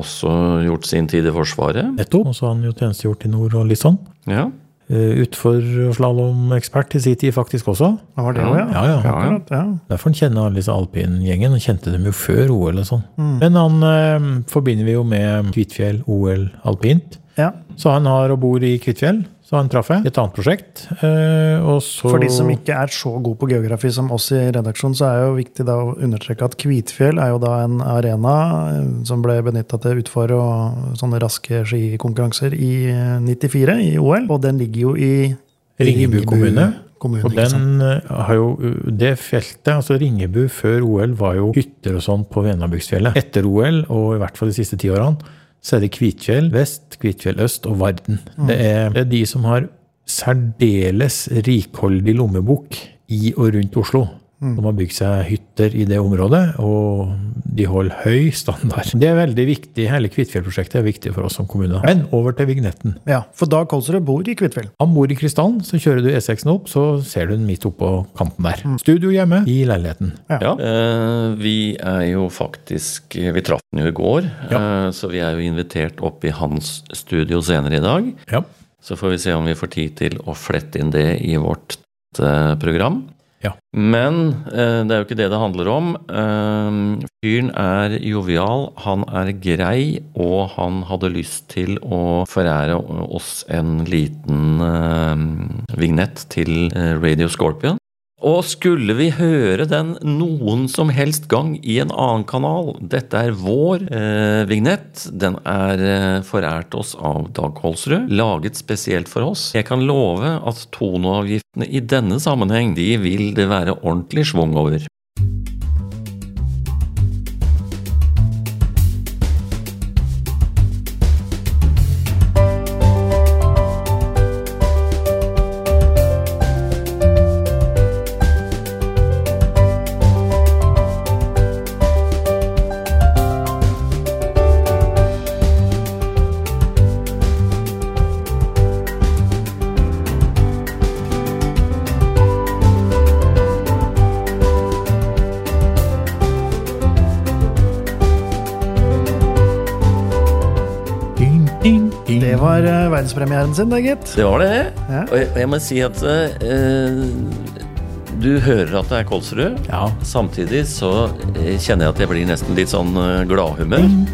[SPEAKER 2] også gjort sin tid i Forsvaret.
[SPEAKER 3] Nettopp. Og så har han jo tjenestegjort i nord og litt sånn.
[SPEAKER 2] Ja.
[SPEAKER 3] Eh, Utfor- og slalåmekspert i sin tid faktisk også.
[SPEAKER 4] Det var det òg, ja.
[SPEAKER 3] Ja, ja.
[SPEAKER 4] Akkurat, ja.
[SPEAKER 3] Derfor han kjenner alle disse alpingjengen. Han kjente dem jo før OL og sånn.
[SPEAKER 4] Mm.
[SPEAKER 3] Men han eh, forbinder vi jo med Kvitfjell, OL, alpint.
[SPEAKER 4] ja.
[SPEAKER 3] Så han har og bor i Kvitfjell. Så han traff jeg. Et annet prosjekt. Eh, og så
[SPEAKER 4] For de som ikke er så gode på geografi som oss i redaksjonen, så er jo viktig da å understreke at Kvitfjell er jo da en arena eh, som ble benytta til utfor og sånne raske skikonkurranser i eh, 94 i OL. Og den ligger jo i
[SPEAKER 3] Ringebu kommune.
[SPEAKER 4] kommune,
[SPEAKER 3] Og
[SPEAKER 4] ikke sant?
[SPEAKER 3] den eh, har jo uh, Det feltet, altså Ringebu før OL, var jo hytter og sånn på Venabygdsfjellet. Etter OL, og i hvert fall de siste ti årene, så er det Kvitfjell vest, Kvitfjell øst og Varden.
[SPEAKER 4] Mm.
[SPEAKER 3] Det, er, det er de som har særdeles rikholdig lommebok i og rundt Oslo.
[SPEAKER 4] Mm.
[SPEAKER 3] som har bygd seg hytter i det området, og de holder høy standard. Det er veldig viktig. Hele Kvitfjell-prosjektet er viktig for oss som kommune. Men over til vignetten.
[SPEAKER 4] Ja, For Dag Kolsrud bor i Kvitfjell.
[SPEAKER 3] Han bor i Krystallen, så kjører du E6-en opp, så ser du den midt oppå kanten der. Studio hjemme Mm. i leiligheten.
[SPEAKER 2] ja. Eh, vi er jo faktisk Vi traff den jo i går, eh, så vi er jo invitert opp i hans studio senere i dag.
[SPEAKER 3] Ja.
[SPEAKER 2] Så får vi se om vi får tid til å flette inn det i vårt eh, program.
[SPEAKER 3] Ja.
[SPEAKER 2] Men eh, det er jo ikke det det handler om. Eh, fyren er jovial, han er grei, og han hadde lyst til å forære oss en liten eh, vignett til eh, Radio Scorpion. Og skulle vi høre den noen som helst gang i en annen kanal Dette er vår eh, vignett. Den er eh, forært oss av Dag Holsrud. Laget spesielt for oss. Jeg kan love at toneavgiftene i denne sammenheng, de vil det være ordentlig schwung over.
[SPEAKER 4] Det var eh, verdenspremieren sin, det, gitt.
[SPEAKER 2] Det var det.
[SPEAKER 4] Ja.
[SPEAKER 2] Og jeg, og jeg må si at eh, du hører at det er Kolsrud.
[SPEAKER 3] Ja.
[SPEAKER 2] Samtidig så eh, kjenner jeg at jeg blir nesten litt sånn eh, gladhumør.
[SPEAKER 3] Mm.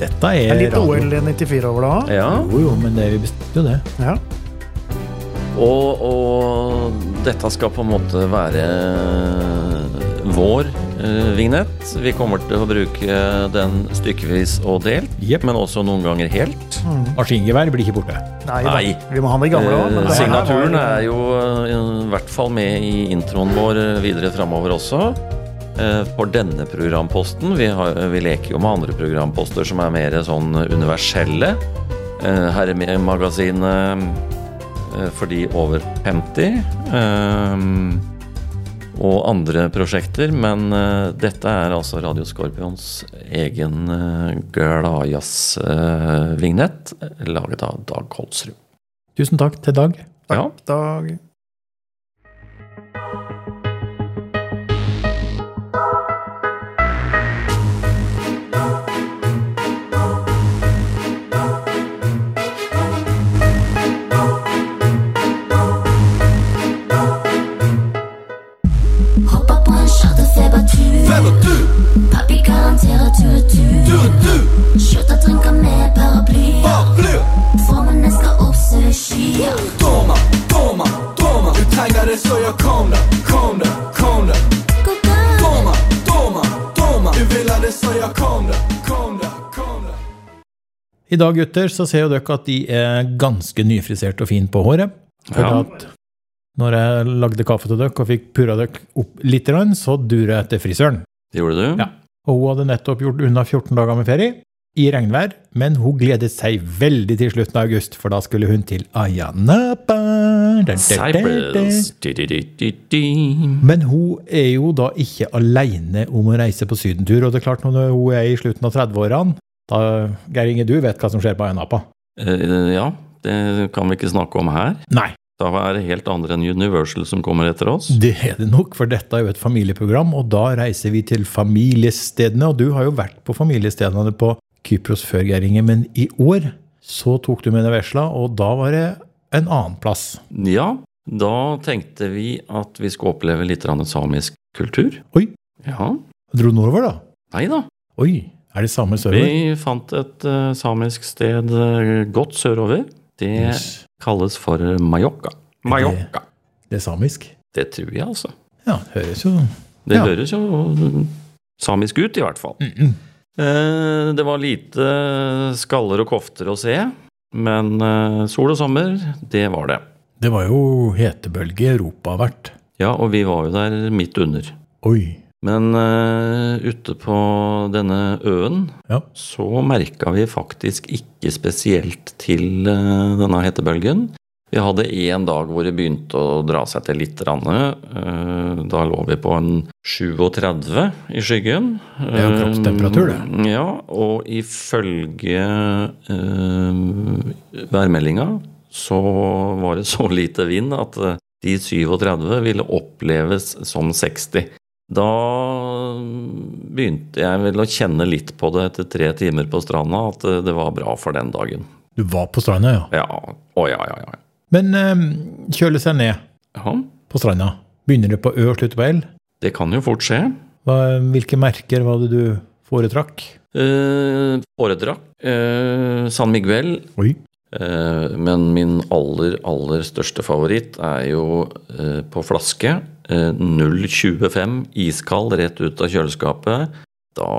[SPEAKER 3] Dette
[SPEAKER 4] Det er
[SPEAKER 3] er
[SPEAKER 4] litt OL 94 over det òg.
[SPEAKER 2] Ja.
[SPEAKER 3] Jo, jo, men det, vi bestemte jo det.
[SPEAKER 4] Ja.
[SPEAKER 2] Og, og dette skal på en måte være vår eh, vignett. Vi kommer til å bruke den stykkevis og delt,
[SPEAKER 3] Jep.
[SPEAKER 2] men også noen ganger helt.
[SPEAKER 3] Mm. Maskingevær blir ikke borte.
[SPEAKER 4] Nei da.
[SPEAKER 2] Nei.
[SPEAKER 4] Vi må ha de gamle òg.
[SPEAKER 2] Eh, Signaturen er jo eh, i hvert fall med i introen vår eh, videre framover også. eh, For denne programposten. Vi, har, vi leker jo med andre programposter som er mer sånn universelle. Eh, Herremagasinet eh, for de over 50. eh, og andre prosjekter, men eh, dette er altså Radio Skorpions egen uh, gladjazz-vignett, eh, laget av Dag Kolsrud.
[SPEAKER 3] Tusen takk til Dag.
[SPEAKER 2] Ja.
[SPEAKER 4] Dag.
[SPEAKER 7] Hoppa på en charter, fais pas tu. Papy garanterer du er du. Skjorta drinker med paraplyer. Formene skal opp så det skyer. God dag.
[SPEAKER 3] I dag, gutter, så ser jo dere at de er ganske nyfrisert og fin på håret. For
[SPEAKER 2] Ja.
[SPEAKER 3] at når jeg lagde kaffe til dere og fikk purra dere opp litt, grann, så durer jeg etter frisøren.
[SPEAKER 2] Det gjorde du?
[SPEAKER 3] Ja. Og hun hadde nettopp gjort unna 14 dager med ferie i regnvær, men hun gledet seg veldig til slutten av august, for da skulle hun til Ayanapa. Da, da, da, da.
[SPEAKER 2] Cyprus Di-di-di-di-di.
[SPEAKER 3] Men hun er jo da ikke aleine om å reise på sydentur, og det er klart når hun er i slutten av 30-årene da, Geir Inge, du vet hva som skjer på Ayanapa?
[SPEAKER 2] Eh, Ja, det kan vi ikke snakke om her.
[SPEAKER 3] Nei,
[SPEAKER 2] Da er det helt andre enn Universal som kommer etter oss.
[SPEAKER 3] det er det nok, for dette er jo et familieprogram, og da reiser vi til familiestedene. Og du har jo vært på familiestedene på Kypros før, Geir Inge, men i år så tok du med deg vesla, og da var det en annen plass.
[SPEAKER 2] Ja, da tenkte vi at vi skulle oppleve litt grann samisk kultur.
[SPEAKER 3] Oi.
[SPEAKER 2] Ja.
[SPEAKER 3] Dro nordover, da?
[SPEAKER 2] Nei da.
[SPEAKER 3] Oi, er det samme server?
[SPEAKER 2] Vi fant et eh, samisk sted eh, godt sørover. Det
[SPEAKER 3] Yes.
[SPEAKER 2] kalles for Mallorca. Mallorca.
[SPEAKER 3] Det er samisk?
[SPEAKER 2] Det tror jeg, altså.
[SPEAKER 3] Ja, det høres jo sånn.
[SPEAKER 2] Det
[SPEAKER 3] Ja.
[SPEAKER 2] høres jo samisk ut, i hvert fall. Eh, Det var lite skaller og kofter å se, men eh, sol og sommer, det var det.
[SPEAKER 3] Det var jo hetebølge i Europa hvert.
[SPEAKER 2] Ja, og vi var jo der midt under.
[SPEAKER 3] Oi.
[SPEAKER 2] Men eh, ute på denne øen
[SPEAKER 3] Ja.
[SPEAKER 2] så merka vi faktisk ikke spesielt til eh, denne hetebølgen. Vi hadde én dag hvor det begynte å dra seg til litt. grann, eh, Da lå vi på en 37 i skyggen. Eh,
[SPEAKER 3] Det er jo kroppstemperatur, det.
[SPEAKER 2] Ja, og ifølge eh, værmeldinga så var det så lite vind at eh, de 37 ville oppleves som 60. Da begynte jeg vel å kjenne litt på det etter tre timer på stranda, at eh, det var bra for den dagen.
[SPEAKER 3] Du var på stranda, ja.
[SPEAKER 2] Ja, å ja, ja, ja.
[SPEAKER 3] Men eh, kjøle seg ned
[SPEAKER 2] Ja,
[SPEAKER 3] på stranda. Begynner det på Ø og slutter på L?
[SPEAKER 2] det kan jo fort skje.
[SPEAKER 3] Hva, hvilke merker var det du foretrakk?
[SPEAKER 2] Eh, Foredrag. Eh, San Miguel.
[SPEAKER 3] Oi.
[SPEAKER 2] Eh, men min aller, aller største favoritt er jo eh, på flaske. Eh, 0,25 iskald rett ut av kjøleskapet. Da,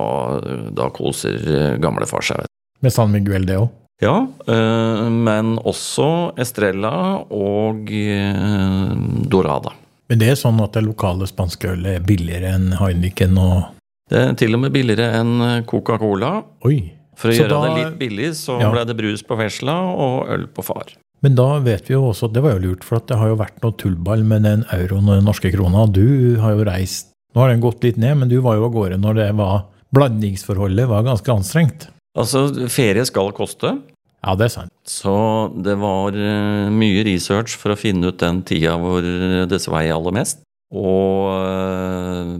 [SPEAKER 2] da koser eh, gamlefar seg, vet du.
[SPEAKER 3] Med San Miguel, det òg.
[SPEAKER 2] Ja, eh, men også Estrella og eh, Dorada.
[SPEAKER 3] Men det er sånn at det lokale spanske ølet er billigere enn Heineken og
[SPEAKER 2] Det er til og med billigere enn eh, Coca-Cola.
[SPEAKER 3] Oi.
[SPEAKER 2] For å
[SPEAKER 3] Så
[SPEAKER 2] gjøre
[SPEAKER 3] da-
[SPEAKER 2] det litt billig, så
[SPEAKER 3] Ja.
[SPEAKER 2] ble det brus på vesla og øl på far.
[SPEAKER 3] Men da vet vi jo også at det var jo lurt, for at det har jo vært noe tullball med den euroen og den norske krona. Du har jo reist Nå har den gått litt ned, men du var jo av gårde når det var Blandingsforholdet var ganske anstrengt.
[SPEAKER 2] Altså, ferie skal koste.
[SPEAKER 3] Ja, det er sant.
[SPEAKER 2] Så det var eh, mye research for å finne ut den tida hvor det svei aller mest. Og eh,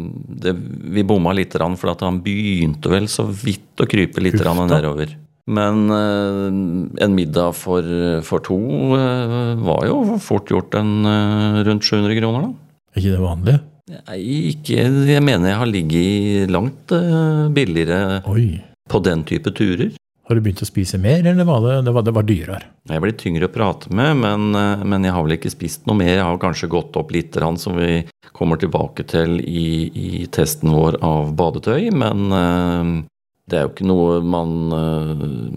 [SPEAKER 2] det, vi bomma lite grann, for at han begynte vel så vidt å krype litt
[SPEAKER 3] Uff
[SPEAKER 2] grann
[SPEAKER 3] da.
[SPEAKER 2] nedover. Men eh, en middag for, for to eh, var jo fort gjort en eh, rundt 700 kroner, da.
[SPEAKER 3] Er ikke det vanlig?
[SPEAKER 2] Nei, ikke Jeg mener jeg har ligget langt eh, billigere
[SPEAKER 3] Oi.
[SPEAKER 2] på den type turer.
[SPEAKER 3] Har du begynt å spise mer, eller var det, det, var, det var dyrere?
[SPEAKER 2] Jeg blir tyngre å prate med, men, eh, men jeg har vel ikke spist noe mer. Jeg har kanskje gått opp litt, grann, som vi kommer tilbake til i, i testen vår av badetøy. Men eh, det er jo ikke noe man eh,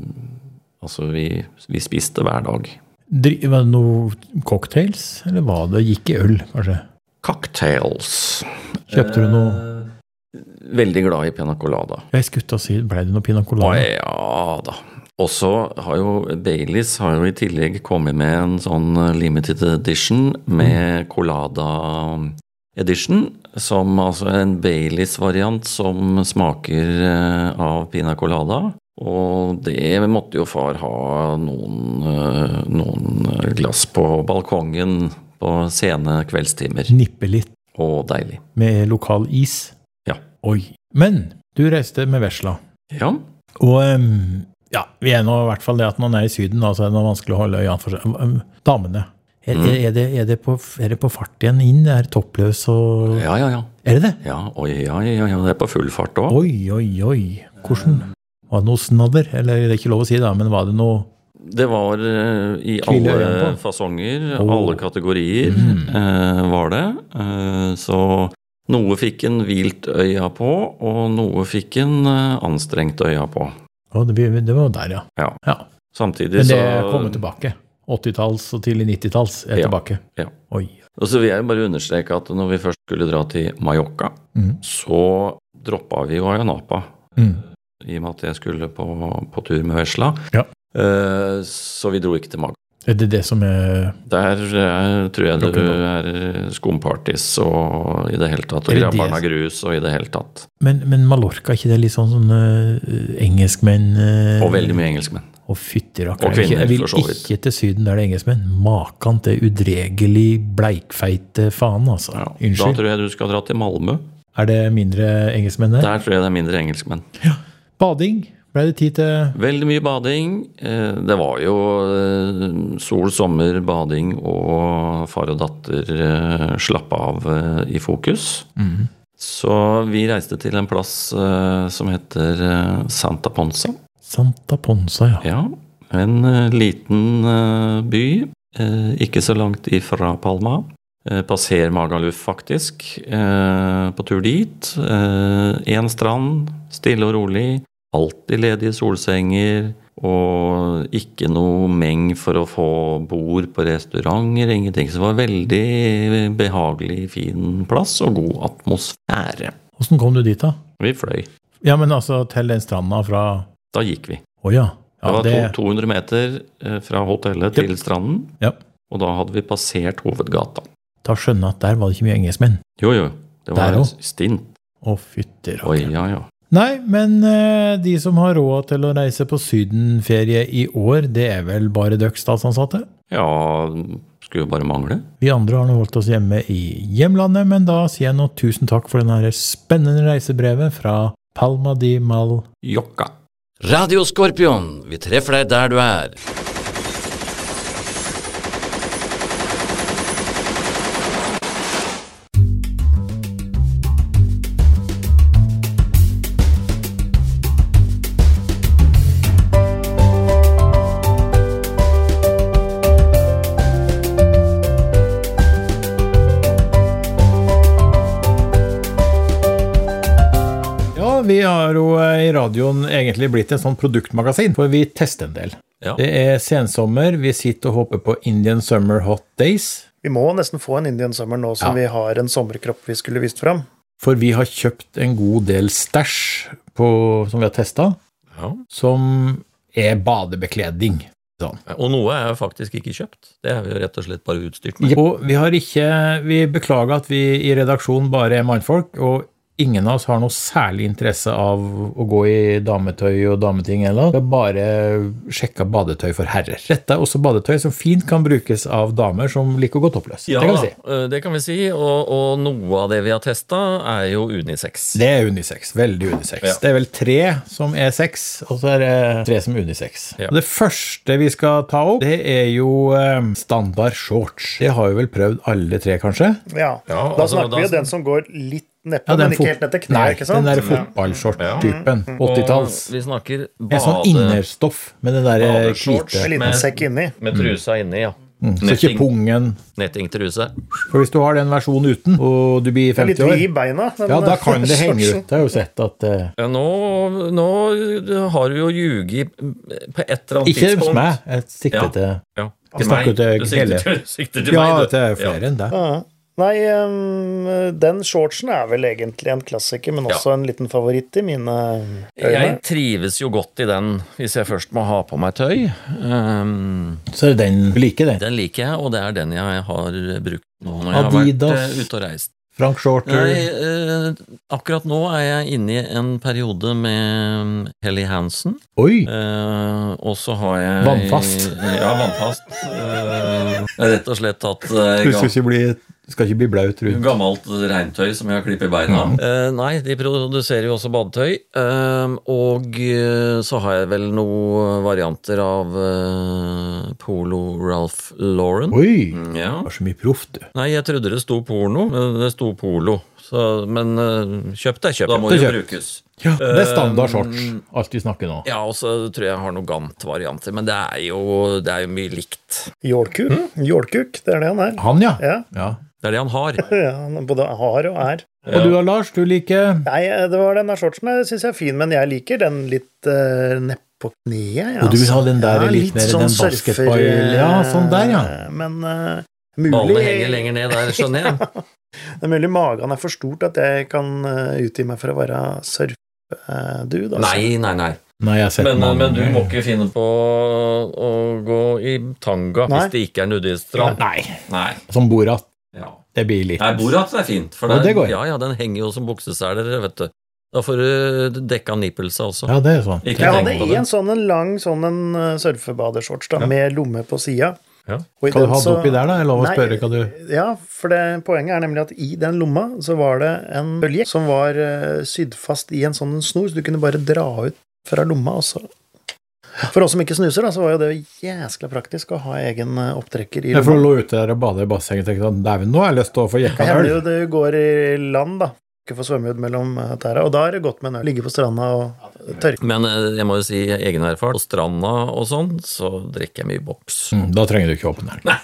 [SPEAKER 2] Altså, vi, vi spiste hver dag.
[SPEAKER 3] Dri, var det noe cocktails, eller var det gikk i øl, kanskje?
[SPEAKER 2] Cocktails.
[SPEAKER 3] Kjøpte du noe
[SPEAKER 2] Eh. Veldig glad i pina colada.
[SPEAKER 3] Jeg skulle til å si, ble det noe pina
[SPEAKER 2] Å,
[SPEAKER 3] colada?
[SPEAKER 2] Ja da. Og så har jo Baileys har jo i tillegg kommet med en sånn limited edition med Colada um, edition, som altså er en Baileys-variant som smaker eh, av pina colada. Og det måtte jo far ha noen, eh, noen glass på balkongen på sene kveldstimer.
[SPEAKER 3] Nippe litt
[SPEAKER 2] Og deilig.
[SPEAKER 3] med lokal is?
[SPEAKER 2] Ja.
[SPEAKER 3] Oi. Men du reiste med vesla.
[SPEAKER 2] Ja.
[SPEAKER 3] Og em, ja, vi er nå i hvert fall det at når man er i Syden, da, så er det noe vanskelig å holde øynene for seg. Em, Damene. Er,
[SPEAKER 2] Mm.
[SPEAKER 3] er, er, det, er, det på, er det på fart igjen inn? Det er toppløs og
[SPEAKER 2] Ja, ja, ja.
[SPEAKER 3] Er det det?
[SPEAKER 2] Ja, oi, ja, ja, ja. Det er på full fart òg.
[SPEAKER 3] Oi, oi, oi. Hvordan? Var det noe snadder? Eller det er ikke lov å si, da, men var det noe
[SPEAKER 2] Det var eh, i
[SPEAKER 3] Tviler jeg
[SPEAKER 2] alle
[SPEAKER 3] på.
[SPEAKER 2] fasonger,
[SPEAKER 3] Åh. Mm.
[SPEAKER 2] alle kategorier eh, var det. Eh, så noe fikk en hvilt øya på, og noe fikk en eh, anstrengt øya på.
[SPEAKER 3] Å, det, blir- det var der, ja.
[SPEAKER 2] Ja.
[SPEAKER 3] ja.
[SPEAKER 2] Samtidig
[SPEAKER 3] Men det
[SPEAKER 2] så
[SPEAKER 3] kommer tilbake. 80-talls og tidlig 90-talls er
[SPEAKER 2] Ja.
[SPEAKER 3] tilbake.
[SPEAKER 2] Ja.
[SPEAKER 3] Oi.
[SPEAKER 2] Og så vil jeg bare understreke at når vi først skulle dra til Mallorca,
[SPEAKER 3] Mm.
[SPEAKER 2] så droppa vi jo Ayanapa.
[SPEAKER 3] Mm.
[SPEAKER 2] I og med at jeg skulle på, på tur med vesla.
[SPEAKER 3] Ja.
[SPEAKER 2] Eh, så vi dro ikke til Maga.
[SPEAKER 3] Er det det som er
[SPEAKER 2] Der eh, tror jeg det er skumparties og i det hele tatt. Og
[SPEAKER 3] Er det
[SPEAKER 2] Grabbarna
[SPEAKER 3] det-
[SPEAKER 2] grus og i det hele tatt.
[SPEAKER 3] Men, men Mallorca, er ikke det litt sånn sånn eh, engelskmenn eh,
[SPEAKER 2] Og veldig mye engelskmenn.
[SPEAKER 3] Og fytterakker.
[SPEAKER 2] Og kvinner,
[SPEAKER 3] Jeg vil
[SPEAKER 2] for så vidt.
[SPEAKER 3] ikke til Syden der det er engelskmenn. Makan til udregelig bleikfeite faen, altså.
[SPEAKER 2] Ja. Da
[SPEAKER 3] Unnskyld.
[SPEAKER 2] tror jeg du skal dra til Malmö.
[SPEAKER 3] Er det mindre engelskmenn der?
[SPEAKER 2] Der tror jeg det er mindre engelskmenn.
[SPEAKER 3] Bading? Ble det tid til
[SPEAKER 2] Veldig mye bading. Eh, Det var jo eh, sol, sommer, bading og far og datter eh, slappe av eh, i fokus. Så vi reiste til en plass eh, som heter eh, Santa Ponsa.
[SPEAKER 3] Santa Ponsa, ja.
[SPEAKER 2] Ja, en eh, liten eh, by, eh, ikke så langt ifra Palma. Eh, passer Magaluf, faktisk, eh, på tur dit. Én strand, stille og rolig. Alltid ledige solsenger. Og ikke noe meng for å få bord på restauranter, ingenting. Så det var veldig behagelig, fin plass og god atmosfære.
[SPEAKER 3] Åssen kom du dit, da?
[SPEAKER 2] Vi fløy.
[SPEAKER 3] Ja, men altså til den stranda fra
[SPEAKER 2] Da gikk vi.
[SPEAKER 3] Å ja.
[SPEAKER 2] Det
[SPEAKER 3] ja
[SPEAKER 2] var to- 200 meter eh, fra hotellet til stranden.
[SPEAKER 3] ja.
[SPEAKER 2] Og da hadde vi passert hovedgata.
[SPEAKER 3] Da skjønner jeg at der var det ikke mye engelskmenn.
[SPEAKER 2] Jo, jo. Det var
[SPEAKER 3] Der òg?
[SPEAKER 2] stint.
[SPEAKER 3] Å,
[SPEAKER 2] Oi,
[SPEAKER 3] fytterakker.
[SPEAKER 2] ja, ja.
[SPEAKER 3] Nei, men eh, de som har råd til å reise på sydenferie i år, det er vel bare dere statsansatte?
[SPEAKER 2] Ja, skulle jo bare mangle.
[SPEAKER 3] Vi andre har nå holdt oss hjemme i hjemlandet, men da sier jeg nå tusen takk for denne her spennende reisebrevet fra Palma di Mal.
[SPEAKER 2] Jokka.
[SPEAKER 1] Radio Skorpion, vi treffer deg der du er.
[SPEAKER 3] Ja, vi har jo eh, i radioen egentlig blitt et sånt produktmagasin, for vi tester en del.
[SPEAKER 2] Ja.
[SPEAKER 3] Det er sensommer, vi sitter og håper på Indian Summer Hot Days,
[SPEAKER 4] Vi må nesten få en Indian Summer nå som
[SPEAKER 3] Ja.
[SPEAKER 4] vi har en sommerkropp vi skulle vist fram.
[SPEAKER 3] for vi har kjøpt en god del stæsj på- som vi har testa,
[SPEAKER 2] Ja.
[SPEAKER 3] som er badebekledning.
[SPEAKER 2] Og noe er faktisk ikke kjøpt. Det er vi jo rett og slett bare utstyrt
[SPEAKER 3] Og vi har ikke Vi beklager at vi i redaksjonen bare er mannfolk og Ingen av oss har noe særlig interesse av å gå i dametøy og dameting eller noe. Vi har bare sjekka badetøy for herrer. Dette er også badetøy som fint kan brukes av damer som liker å gå toppløs. det kan vi si.
[SPEAKER 2] eh, det kan vi si. Og, og noe av det vi har testa, er jo unisex.
[SPEAKER 3] Det er unisex. Veldig unisex. Det er vel tre som er sex, og så er det tre som er unisex.
[SPEAKER 2] Ja.
[SPEAKER 3] Og Det første vi skal ta opp, det er jo eh, standard shorts. Det har vi vel prøvd alle tre, kanskje?
[SPEAKER 4] Ja.
[SPEAKER 2] Ja,
[SPEAKER 4] da
[SPEAKER 2] altså,
[SPEAKER 4] snakker vi
[SPEAKER 2] da-
[SPEAKER 4] jo den som går litt nedpå,
[SPEAKER 3] den
[SPEAKER 4] men
[SPEAKER 3] fot-
[SPEAKER 4] ikke helt ned til
[SPEAKER 3] Nei,
[SPEAKER 4] kneet, ikke
[SPEAKER 3] den
[SPEAKER 4] sant?
[SPEAKER 3] der fotballshort-typen. 80-talls.
[SPEAKER 2] Og vi snakker
[SPEAKER 3] En sånn
[SPEAKER 2] bade...
[SPEAKER 3] innerstoff med den der eh,
[SPEAKER 2] badeshorts.
[SPEAKER 3] hvite.
[SPEAKER 4] Med en liten
[SPEAKER 2] med-
[SPEAKER 4] sekk inni.
[SPEAKER 2] Med
[SPEAKER 3] Mm.
[SPEAKER 2] trusa inni, ja.
[SPEAKER 3] Så ikke pungen.
[SPEAKER 2] Nettingtruse.
[SPEAKER 3] For hvis du har den versjonen uten, og du blir
[SPEAKER 4] Litt
[SPEAKER 3] 50 år,
[SPEAKER 4] vid i beina. den
[SPEAKER 3] ja, da kan det henge
[SPEAKER 4] shortsen.
[SPEAKER 3] ut. Jeg har jo sett at eh,
[SPEAKER 2] Ja, nå, nå har du jo ljuget på et eller annet
[SPEAKER 3] Ikke hos
[SPEAKER 2] tidspunkt.
[SPEAKER 3] meg. Jeg sikter
[SPEAKER 2] sånn- Ja.
[SPEAKER 3] til
[SPEAKER 2] Ja.
[SPEAKER 3] Jeg snakker til
[SPEAKER 2] Du sikter
[SPEAKER 3] Helle.
[SPEAKER 2] til- sikter til
[SPEAKER 3] Ja,
[SPEAKER 2] meg, du.
[SPEAKER 3] det er flere enn deg.
[SPEAKER 4] Ja. Nei, ehm, den shortsen er vel egentlig en klassiker, men også en liten favoritt i mine
[SPEAKER 2] Jeg
[SPEAKER 4] øyne.
[SPEAKER 2] trives jo godt i den hvis jeg først må ha på meg tøy. Ehm,
[SPEAKER 3] Så er det den du liker, den.
[SPEAKER 2] den liker jeg, og det er den jeg har brukt nå når jeg har vært
[SPEAKER 3] Adidas.
[SPEAKER 2] eh, ute og reist.
[SPEAKER 3] Frank Shorter.
[SPEAKER 2] Nei, eh, akkurat nå er jeg inne i en periode med um, Helly Hansen,
[SPEAKER 3] Oi!
[SPEAKER 2] eh, og så har jeg
[SPEAKER 3] Vannfast.
[SPEAKER 2] Ja, vannfast. Eh, jeg har rett og slett tatt eh,
[SPEAKER 3] Du
[SPEAKER 2] gam-
[SPEAKER 3] skal ikke bli, skal ikke bli blaut rundt.
[SPEAKER 2] Gammelt regntøy som jeg har klippet i beina. Eh, nei, de produserer jo også badetøy. eh, og eh, så har jeg vel noen varianter av eh, Polo Ralph Lauren.
[SPEAKER 3] Oi!
[SPEAKER 2] Ja.
[SPEAKER 3] Du har så mye proft, du.
[SPEAKER 2] Nei, jeg trodde det sto porno, men det sto polo. Så, men eh, kjøpt er kjøpt. Da må
[SPEAKER 3] det
[SPEAKER 2] det
[SPEAKER 3] kjøpt.
[SPEAKER 2] brukes.
[SPEAKER 3] Ja, det
[SPEAKER 2] Um,
[SPEAKER 3] er standard shorts, alt vi snakker nå.
[SPEAKER 2] Ja, og så tror jeg jeg har noen Gant-varianter, men det er, jo, det er jo mye likt.
[SPEAKER 4] Jålkuk.
[SPEAKER 2] Hm?
[SPEAKER 4] Jålkuk, det er det han er.
[SPEAKER 3] Han, ja.
[SPEAKER 4] Ja.
[SPEAKER 3] ja.
[SPEAKER 2] Det er det han har.
[SPEAKER 4] Ja, han både har og er.
[SPEAKER 3] Og du da, Lars? Du liker
[SPEAKER 4] Nei, det var den der shortsen jeg syns jeg er fin, men jeg liker den litt uh, nedpå kneet. jeg,
[SPEAKER 3] Og du vil
[SPEAKER 4] altså.
[SPEAKER 3] ha den der
[SPEAKER 4] Ja, sånn
[SPEAKER 3] litt mer den
[SPEAKER 4] surfer,
[SPEAKER 3] basketball... Ja, sånn der, ja.
[SPEAKER 4] eh, Men eh,
[SPEAKER 2] Ballene
[SPEAKER 4] mulig,
[SPEAKER 2] henger lenger ned der, skjønner jeg.
[SPEAKER 4] det er mulig magen er for stort at jeg kan eh, utgi meg for å være eh, surfedude.
[SPEAKER 2] Nei, nei, nei.
[SPEAKER 3] Nei, jeg har sett
[SPEAKER 2] Men,
[SPEAKER 3] mange
[SPEAKER 2] men du
[SPEAKER 3] ganger.
[SPEAKER 2] må ikke finne på å gå i tanga
[SPEAKER 4] Nei.
[SPEAKER 2] hvis det ikke er nudiststrand.
[SPEAKER 3] Nei.
[SPEAKER 2] Nei.
[SPEAKER 3] Som Borat.
[SPEAKER 2] Ja.
[SPEAKER 3] Det blir litt
[SPEAKER 2] Nei, Borat er fint. For
[SPEAKER 3] Ja,
[SPEAKER 2] det
[SPEAKER 3] det går.
[SPEAKER 2] ja, ja, den henger jo som bukseseler, vet du. Da får du dekka nippelsa også.
[SPEAKER 3] Ja, det er sånn.
[SPEAKER 2] Ikke
[SPEAKER 4] Jeg
[SPEAKER 2] tenk
[SPEAKER 4] hadde
[SPEAKER 2] på det.
[SPEAKER 4] en sånn en lang sånn en eh, surfebadeshorts da, med lomme på sida.
[SPEAKER 2] Ja.
[SPEAKER 3] Hva du hadde oppi der, da? Jeg lover å spørre hva du
[SPEAKER 4] Ja, for det, poenget er nemlig at i den lomma så var det en bølje som var eh, sydd fast i en sånn snor, så du kunne bare dra ut fra lomma, og så For oss som ikke snuser, da, så var jo det jæskla praktisk å ha egen eh, opptrekker i
[SPEAKER 3] Jeg får
[SPEAKER 4] lomma.
[SPEAKER 3] lå ute der og bade i bassenget og tenkte sånn Dæven, nå har jeg lyst til å få
[SPEAKER 4] Det
[SPEAKER 3] jekka en
[SPEAKER 4] hender
[SPEAKER 3] øl.
[SPEAKER 4] jo du går i land, da. Ikke får svømmehud mellom eh, tæra, og da er det godt med en øl. Ligge på stranda og tørke.
[SPEAKER 2] Men eh, jeg må jo si egenerfart. På stranda og sånn, så drikker jeg mye boks.
[SPEAKER 3] Mm, Da trenger du ikke åpne den.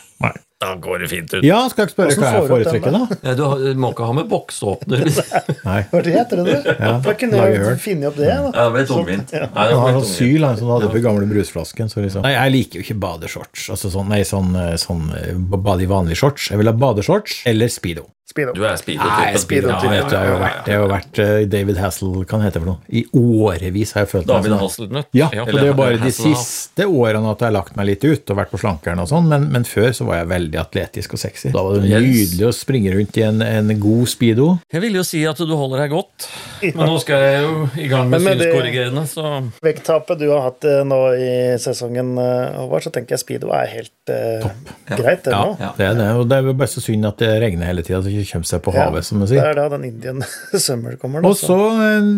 [SPEAKER 2] Da går det fint ut.
[SPEAKER 3] Ja, skal jeg ikke spørre
[SPEAKER 4] Hvordan
[SPEAKER 3] hva jeg
[SPEAKER 4] får du opp
[SPEAKER 3] foretrekker,
[SPEAKER 4] den,
[SPEAKER 3] da?
[SPEAKER 2] Ja, du har- du må ikke ha med boksåpner.
[SPEAKER 3] Nei.
[SPEAKER 4] Hva heter det, du?
[SPEAKER 3] Ja,
[SPEAKER 4] Da kunne
[SPEAKER 3] lage
[SPEAKER 4] jeg
[SPEAKER 3] høl.
[SPEAKER 4] jo finne opp det, da.
[SPEAKER 2] Ja, det ble tungvint. Nei, det
[SPEAKER 3] Han
[SPEAKER 2] ble
[SPEAKER 3] har
[SPEAKER 2] tungvint.
[SPEAKER 3] asyl, han som hadde på gamle brusflasken. Så liksom. Nei, jeg liker jo ikke badeshorts. Altså sånn, nei, sånn, eh, sånn eh, bade i vanlige shorts. Jeg vil ha badeshorts eller speedo.
[SPEAKER 4] Speedo.
[SPEAKER 2] Du
[SPEAKER 3] Nei,
[SPEAKER 2] er speedo-typen.
[SPEAKER 4] speedo,
[SPEAKER 3] ja, vet du, jeg har jo vært, jeg har jo vært eh, David Hassel, hva han heter for noe? I årevis har jeg følt meg
[SPEAKER 2] David
[SPEAKER 3] sånn.
[SPEAKER 2] Hasselnøtt.
[SPEAKER 3] Ja, og det er jo bare de
[SPEAKER 2] Hasselhoff.
[SPEAKER 3] siste årene at jeg har lagt meg litt ut og vært på slankeren og sånn, men, men før så var jeg veldig atletisk og sexy. Da var det
[SPEAKER 2] Yes.
[SPEAKER 3] nydelig å springe rundt i en, en god speedo.
[SPEAKER 2] Jeg ville jo si at du holder deg godt, men nå skal jeg jo i gang med
[SPEAKER 4] Men med det-
[SPEAKER 2] synskorrigerende, så
[SPEAKER 4] vekttapet du har hatt eh, nå i sesongen, eh, Håvard, så tenker jeg Speedo er helt eh, greit, det
[SPEAKER 3] Ja,
[SPEAKER 4] nå.
[SPEAKER 3] det er det, og det er jo bare så synd at det regner hele tida, så det ikke kommer seg på havet, som man
[SPEAKER 4] Det
[SPEAKER 3] sier.
[SPEAKER 4] er da den Indian Summer kommer.
[SPEAKER 3] Og
[SPEAKER 4] nå,
[SPEAKER 3] så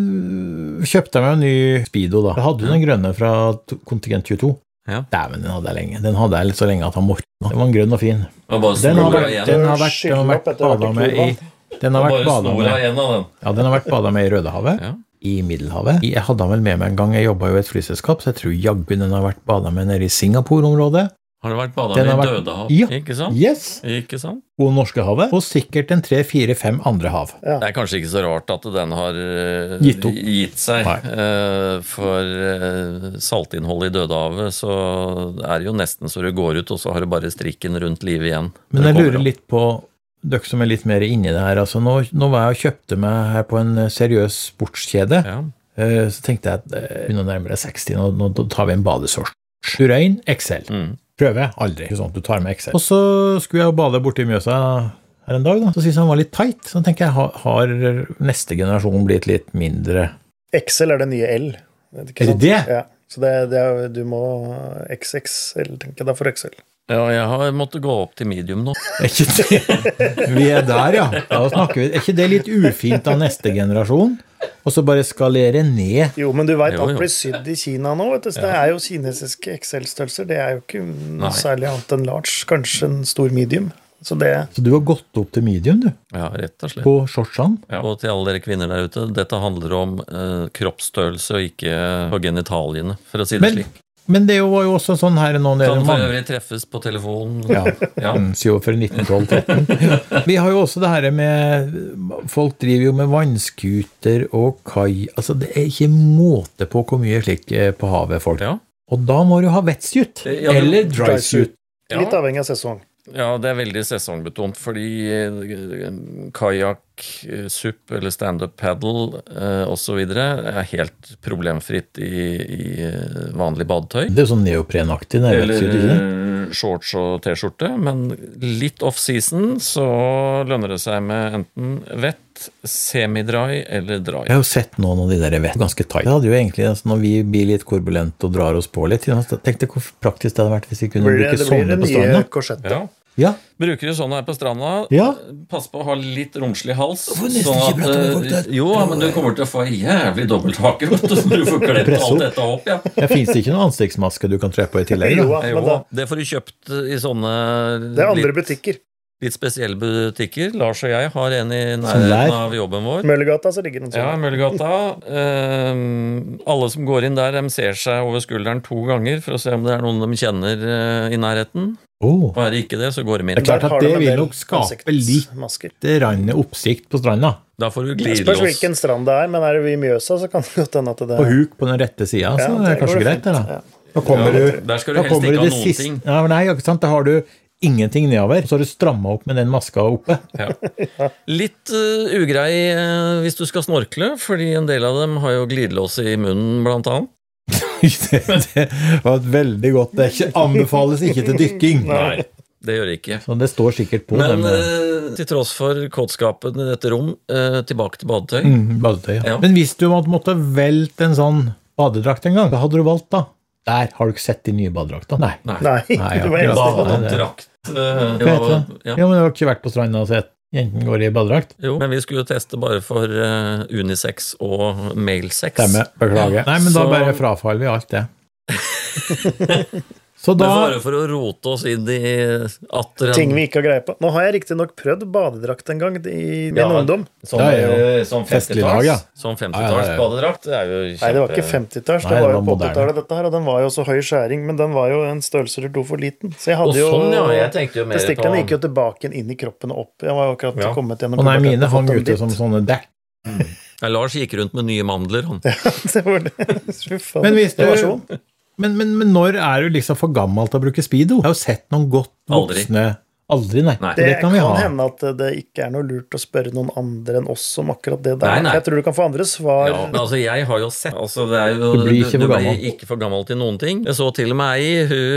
[SPEAKER 3] eh, kjøpte jeg meg en ny speedo, da. Jeg hadde jo den grønne fra t- kontingent 22.
[SPEAKER 2] Ja.
[SPEAKER 3] Dæven, den hadde jeg lenge. Den hadde jeg litt så lenge at han mortna. Den var grønn og fin.
[SPEAKER 2] Og bare
[SPEAKER 3] Den har
[SPEAKER 2] snor deg
[SPEAKER 3] vært,
[SPEAKER 2] igjen.
[SPEAKER 3] den har vært, den har vært
[SPEAKER 4] Skylle opp etter hvert
[SPEAKER 3] bada
[SPEAKER 4] i
[SPEAKER 3] med i den har
[SPEAKER 2] Og
[SPEAKER 3] vært
[SPEAKER 2] Bare
[SPEAKER 3] bada
[SPEAKER 2] snor
[SPEAKER 3] med
[SPEAKER 2] deg igjen av den.
[SPEAKER 3] Ja, den har vært bada med i Rødehavet.
[SPEAKER 2] Ja.
[SPEAKER 3] I Middelhavet. Jeg hadde han vel med meg en gang, jeg jobba jo i et flyselskap, så jeg tror jaggu den har vært bada med nede i Singapore-området.
[SPEAKER 2] Har det vært bada
[SPEAKER 3] Den
[SPEAKER 2] med
[SPEAKER 3] har
[SPEAKER 2] i
[SPEAKER 3] vært-
[SPEAKER 2] Dødehav?
[SPEAKER 3] Ja.
[SPEAKER 2] Ikke sant?
[SPEAKER 3] Yes!
[SPEAKER 2] Ikke sant?
[SPEAKER 3] Og Norskehavet. Og sikkert en tre-fire-fem andre hav.
[SPEAKER 2] Det er kanskje ikke så rart at den har eh,
[SPEAKER 3] Gitt opp.
[SPEAKER 2] gitt seg.
[SPEAKER 3] Nei.
[SPEAKER 2] eh, For eh, saltinnholdet i Dødehavet så er det jo nesten så du går ut, og så har du bare strikken rundt livet igjen.
[SPEAKER 3] Men
[SPEAKER 2] Det
[SPEAKER 3] jeg
[SPEAKER 2] kommer
[SPEAKER 3] lurer
[SPEAKER 2] opp.
[SPEAKER 3] litt på dere som er litt mer inni det her. altså Nå, nå var jeg og kjøpte meg her på en eh, seriøs sportskjede.
[SPEAKER 2] ja.
[SPEAKER 3] Eh, Så tenkte jeg at eh, begynner å nærme deg 60, nå, nå tar vi en badesort. Surain XL.
[SPEAKER 2] Mm.
[SPEAKER 3] Prøver jeg aldri. Ikke sånn at du tar med XL. Og så skulle jeg jo bade borti Mjøsa her en dag, da, så syntes han var litt tight. Så tenker jeg, har, har neste generasjon blitt litt mindre
[SPEAKER 4] XL er det nye L. Er
[SPEAKER 3] Er det det?
[SPEAKER 4] Ja. Så det, det er, du må XXL, tenker jeg da, for XL.
[SPEAKER 2] Ja, jeg har måttet gå opp til medium nå.
[SPEAKER 3] Er ikke det Vi er der, ja. Da snakker vi. Er ikke det litt ufint av neste generasjon? Og så bare skalere ned?
[SPEAKER 4] Jo, men du veit
[SPEAKER 2] Jo,
[SPEAKER 4] alt
[SPEAKER 2] jo.
[SPEAKER 4] blir sydd i Kina nå, vet du. Så det er jo kinesiske XL-størrelser. Det er jo ikke noe særlig annet enn large. Kanskje en stor medium. Så det
[SPEAKER 3] Så du har gått opp til medium, du?
[SPEAKER 2] Ja, rett og slett.
[SPEAKER 3] På shortsene?
[SPEAKER 2] Og til alle dere kvinner der ute, dette handler om eh, kroppsstørrelse og ikke eh, på genitaliene, for å si det
[SPEAKER 3] Men,
[SPEAKER 2] slik.
[SPEAKER 3] men det var jo også sånn her nå nede i
[SPEAKER 2] Kan for
[SPEAKER 3] Mandal.
[SPEAKER 2] øvrig treffes på telefon.
[SPEAKER 3] Ja.
[SPEAKER 2] Ja.
[SPEAKER 3] fantes jo for 1912-13. Vi har jo også det her med Folk driver jo med vannskuter og kai. Altså, det er ikke måte på hvor mye slik eh, på havet folk
[SPEAKER 2] Ja.
[SPEAKER 3] Og da må du ha wetsuit.
[SPEAKER 2] Ja, du-
[SPEAKER 3] eller drysuit.
[SPEAKER 2] Ja.
[SPEAKER 4] Litt avhengig av sesong.
[SPEAKER 2] ja, det er veldig sesongbetont, fordi eh, kajakk, eh, SUP eller standup paddle eh, osv. er helt problemfritt i, i eh, vanlig badetøy.
[SPEAKER 3] Det er jo sånn neoprenaktig. det er
[SPEAKER 2] Eller
[SPEAKER 3] wetsuit, ikke det?
[SPEAKER 2] eh, shorts og T-skjorte, men litt off-season så lønner det seg med enten vett, semidry eller dry.
[SPEAKER 3] Jeg har jo sett noen av de der vett ganske tight. Det hadde jo egentlig, altså, Når vi blir litt korbulente og drar oss på litt, tenkte jeg hvor praktisk det hadde vært hvis vi kunne
[SPEAKER 4] Blir det,
[SPEAKER 3] bruke
[SPEAKER 4] det blir
[SPEAKER 3] sånne
[SPEAKER 4] det
[SPEAKER 3] på
[SPEAKER 4] nye
[SPEAKER 3] stranda.
[SPEAKER 4] korsettet.
[SPEAKER 2] Ja.
[SPEAKER 3] Ja,
[SPEAKER 2] Bruker du sånn her på stranda,
[SPEAKER 3] Ja.
[SPEAKER 2] pass på å ha litt romslig hals.
[SPEAKER 3] får nesten ikke prate med folk
[SPEAKER 2] eh,
[SPEAKER 3] der.
[SPEAKER 2] jo, men du kommer til å få ei jævlig dobbelthake, vet du, så du får klemt
[SPEAKER 3] Press opp.
[SPEAKER 2] alt dette opp. ja.
[SPEAKER 3] ja Fins det ikke noen ansiktsmaske du kan tre på i tillegg?
[SPEAKER 4] Jo,
[SPEAKER 3] Da?
[SPEAKER 4] da,
[SPEAKER 2] Eh,
[SPEAKER 4] men da,
[SPEAKER 2] Jo, det får du kjøpt i sånne
[SPEAKER 4] det er andre
[SPEAKER 2] litt,
[SPEAKER 4] butikker.
[SPEAKER 2] litt spesielle butikker. Lars og jeg har en i
[SPEAKER 3] der.
[SPEAKER 2] nærheten av jobben vår.
[SPEAKER 4] Møllergata så ligger den
[SPEAKER 2] Ja,
[SPEAKER 4] sånn.
[SPEAKER 2] Møllergata. Ehm, alle som går inn der, de ser seg over skulderen to ganger for å se om det er noen de kjenner eh, i nærheten.
[SPEAKER 3] Oh.
[SPEAKER 2] Og er det ikke det, så går de
[SPEAKER 3] Det
[SPEAKER 2] inn.
[SPEAKER 3] er klart
[SPEAKER 4] Der
[SPEAKER 3] at
[SPEAKER 4] har
[SPEAKER 3] det
[SPEAKER 4] de en
[SPEAKER 3] vil
[SPEAKER 4] del
[SPEAKER 3] nok skape litt
[SPEAKER 4] ansiktsmasker.
[SPEAKER 3] rande oppsikt på stranda.
[SPEAKER 2] Da får du
[SPEAKER 4] Det
[SPEAKER 2] glidelås.
[SPEAKER 4] spørs hvilken strand det er, men er det ved Mjøsa, så kan det godt hende at det
[SPEAKER 3] På huk på den rette sida, så
[SPEAKER 4] Ja,
[SPEAKER 3] det
[SPEAKER 4] der
[SPEAKER 3] er
[SPEAKER 4] går
[SPEAKER 3] kanskje
[SPEAKER 4] det
[SPEAKER 3] greit, det,
[SPEAKER 4] fint.
[SPEAKER 3] da.
[SPEAKER 4] Ja.
[SPEAKER 3] Da kommer
[SPEAKER 2] Ja,
[SPEAKER 3] du
[SPEAKER 2] der skal du
[SPEAKER 3] da
[SPEAKER 2] helst
[SPEAKER 3] kommer
[SPEAKER 2] ikke
[SPEAKER 3] du
[SPEAKER 2] ha
[SPEAKER 3] det
[SPEAKER 2] noen
[SPEAKER 3] siste
[SPEAKER 2] ting.
[SPEAKER 3] ja, men Nei, ikke sant, da har du ingenting nedover, så har du stramma opp med den maska oppe.
[SPEAKER 2] Ja. Litt eh, ugrei eh, hvis du skal snorkle, fordi en del av dem har jo glidelås i munnen, blant annet.
[SPEAKER 3] det, det var et veldig godt Det er ikke, anbefales ikke til dykking.
[SPEAKER 2] Det gjør det ikke.
[SPEAKER 3] Så det står sikkert på
[SPEAKER 2] Men
[SPEAKER 3] den eh,
[SPEAKER 2] eh, til tross for kåtskapen i dette rom, eh, tilbake til badetøy.
[SPEAKER 3] mm, badetøyet.
[SPEAKER 2] ja.
[SPEAKER 3] Men hvis du måtte- måtte velt en sånn badedrakt en gang, hva hadde du valgt da? Der har du ikke sett de nye badedraktene. Nei.
[SPEAKER 2] Nei.
[SPEAKER 4] Nei,
[SPEAKER 3] Nei, ja,
[SPEAKER 4] du var
[SPEAKER 3] ja.
[SPEAKER 4] helt stille.
[SPEAKER 3] det-
[SPEAKER 2] Badedrakt. eh,
[SPEAKER 3] Hva heter det?
[SPEAKER 2] ja.
[SPEAKER 3] Jo, men du har ikke vært på stranda og sett jenten går i badedrakt?
[SPEAKER 2] Jo, men vi skulle jo teste bare for eh, unisex og malesex.
[SPEAKER 3] Stemmer. Beklager. Nei, men da
[SPEAKER 2] Så-
[SPEAKER 3] bare frafaller vi alt det. Så
[SPEAKER 2] Men
[SPEAKER 3] da
[SPEAKER 2] bare for å rote oss inn i atter en
[SPEAKER 4] Ting vi ikke har greie på. Nå har jeg riktignok prøvd badedrakt en gang i min
[SPEAKER 2] Ja.
[SPEAKER 4] ungdom.
[SPEAKER 2] Sånn,
[SPEAKER 3] Ja, ja, ja.
[SPEAKER 2] eh, sånn
[SPEAKER 3] Festlig lag, ja.
[SPEAKER 2] 50-talls Sånn 50-talls
[SPEAKER 3] Ja, ja, ja.
[SPEAKER 2] badedrakt. Det er jo kjempe...
[SPEAKER 4] Nei, det var ikke 50-talls,
[SPEAKER 3] Nei,
[SPEAKER 4] det
[SPEAKER 3] det
[SPEAKER 4] var jo
[SPEAKER 3] var
[SPEAKER 4] på
[SPEAKER 3] moderne.
[SPEAKER 4] 80-tallet, dette her. Og den var jo så høy skjæring, men den var jo en størrelse eller to for liten. Så jeg
[SPEAKER 2] Å,
[SPEAKER 4] hadde jo
[SPEAKER 2] sånn, ja. Jeg tenkte jo mer på
[SPEAKER 4] Testiklene gikk jo tilbake igjen inn i kroppen og opp. Jeg var jo akkurat
[SPEAKER 2] Ja.
[SPEAKER 4] kommet gjennom
[SPEAKER 3] Å nei,
[SPEAKER 4] puberteten
[SPEAKER 3] mine
[SPEAKER 4] og fått
[SPEAKER 3] hang
[SPEAKER 4] en
[SPEAKER 3] ute
[SPEAKER 4] bit.
[SPEAKER 3] som sånne dekk.
[SPEAKER 2] Nei, Lars gikk rundt med nye mandler, han.
[SPEAKER 4] Det var det. Fy faen.
[SPEAKER 3] Men hvis du-
[SPEAKER 2] sånn.
[SPEAKER 4] Versjon.
[SPEAKER 3] Men, men, men når er du liksom for gammel til å bruke speedo? Jeg har jo sett noen godt
[SPEAKER 2] Aldri.
[SPEAKER 3] voksne Aldri, nei.
[SPEAKER 2] Nei.
[SPEAKER 3] Det,
[SPEAKER 4] Det
[SPEAKER 3] kan
[SPEAKER 4] kan,
[SPEAKER 3] vi ha.
[SPEAKER 4] hende at det ikke er noe lurt å spørre noen andre enn oss om akkurat det der.
[SPEAKER 2] Nei, nei.
[SPEAKER 4] Jeg tror du kan få andre svar.
[SPEAKER 2] Ja, men altså, jeg har jo sett altså, det er jo,
[SPEAKER 3] Du blir ikke for
[SPEAKER 2] du, du
[SPEAKER 3] gammel.
[SPEAKER 2] blir ikke for gammel til noen ting. Jeg så til og med ei, hun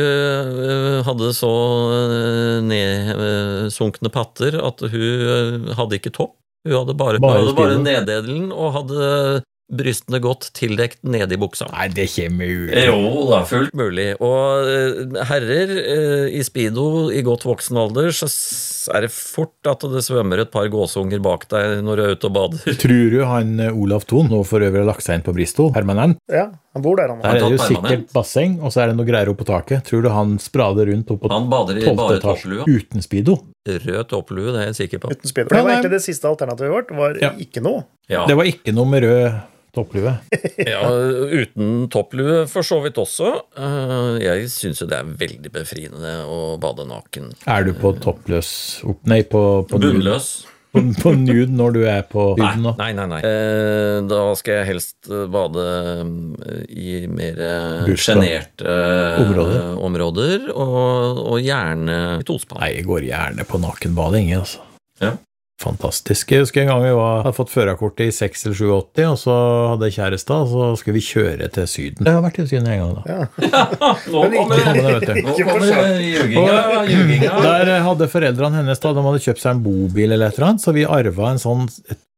[SPEAKER 2] øh, hadde så eh, nedsunkne patter at hun øh, hadde ikke topp. Hun hadde bare,
[SPEAKER 3] Bare
[SPEAKER 2] hun hadde bare
[SPEAKER 3] stillen.
[SPEAKER 2] neddelen og hadde brystene godt tildekt nede i buksa.
[SPEAKER 3] Nei, det er ikke mulig.
[SPEAKER 2] Jo da, fullt mulig. Og eh, herrer eh, i speedo i godt voksen alder, så s- er det fort at det svømmer et par gåsunger bak deg når du er ute og bader.
[SPEAKER 3] Tror du han eh, Olav Thon nå for øvrig har lagt seg inn på Bristol permanent?
[SPEAKER 4] Ja, han bor der, han.
[SPEAKER 3] Der er det jo
[SPEAKER 2] tatt permanent.
[SPEAKER 3] sikkert basseng, og så er det noe greier oppe på taket. Tror du han sprader rundt opp på
[SPEAKER 2] Han bader i
[SPEAKER 3] 12.
[SPEAKER 2] bare
[SPEAKER 3] etasje
[SPEAKER 2] topplue.
[SPEAKER 3] uten speedo?
[SPEAKER 2] Rød topplue, det er jeg sikker på.
[SPEAKER 4] Uten speedo. Det
[SPEAKER 3] Nei,
[SPEAKER 4] var
[SPEAKER 3] nei.
[SPEAKER 4] egentlig det siste alternativet vårt. Var
[SPEAKER 3] Ja.
[SPEAKER 4] ikke noe.
[SPEAKER 2] Ja,
[SPEAKER 3] Det var ikke noe med rød topplue.
[SPEAKER 2] ja Uten topplue for så vidt også. Eh, Jeg syns jo det er veldig befriende å bade naken.
[SPEAKER 3] Er du på toppløs opp... Nei, på, på nude.
[SPEAKER 2] Bunnløs.
[SPEAKER 3] På, på nude når du er på
[SPEAKER 2] Nei,
[SPEAKER 3] huden nå?
[SPEAKER 2] nei, nei. nei. Eh, da skal jeg helst eh, bade eh, i mer eh,
[SPEAKER 3] Bursdag.
[SPEAKER 2] sjenerte eh,
[SPEAKER 3] Områder.
[SPEAKER 2] områder, og, og gjerne i tospann.
[SPEAKER 3] Nei, jeg går gjerne på nakenbading, jeg, altså.
[SPEAKER 2] Ja.
[SPEAKER 3] fantastisk. Jeg husker en gang vi var, hadde fått førerkortet i 6 eller 87, og så hadde jeg kjæreste, og så skulle vi kjøre til Syden. Jeg har vært i Syden en gang, da.
[SPEAKER 2] Nå kommer
[SPEAKER 3] Ja, men
[SPEAKER 2] det-
[SPEAKER 3] det vet du.
[SPEAKER 2] nå kommer det ljuginga. ljuginga.
[SPEAKER 3] Der hadde foreldrene hennes da, de hadde kjøpt seg en bobil eller et eller annet, så vi arva en sånn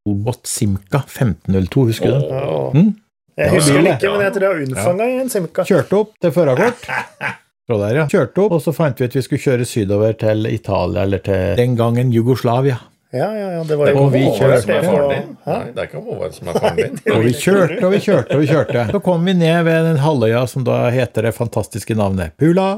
[SPEAKER 3] Olbot Simca 1502, husker du den?
[SPEAKER 8] Åh.
[SPEAKER 3] Mm.
[SPEAKER 8] Jeg husker det ikke, men jeg tror jeg har unnfanga en simka.
[SPEAKER 3] Kjørte opp til førerkort. Fra der, ja. Kjørte opp, og så fant vi ut vi skulle kjøre sydover til Italia, eller til den gangen Jugoslavia.
[SPEAKER 8] Ja, ja, ja, det var jo
[SPEAKER 3] Og vi
[SPEAKER 8] overalt
[SPEAKER 3] kjørte.
[SPEAKER 8] det på- Hæ?
[SPEAKER 9] Nei, det er ikke Håvard som er faren din.
[SPEAKER 3] Og vi kjørte og vi kjørte og vi kjørte. Så kom vi ned ved den halvøya som da heter det fantastiske navnet Pula.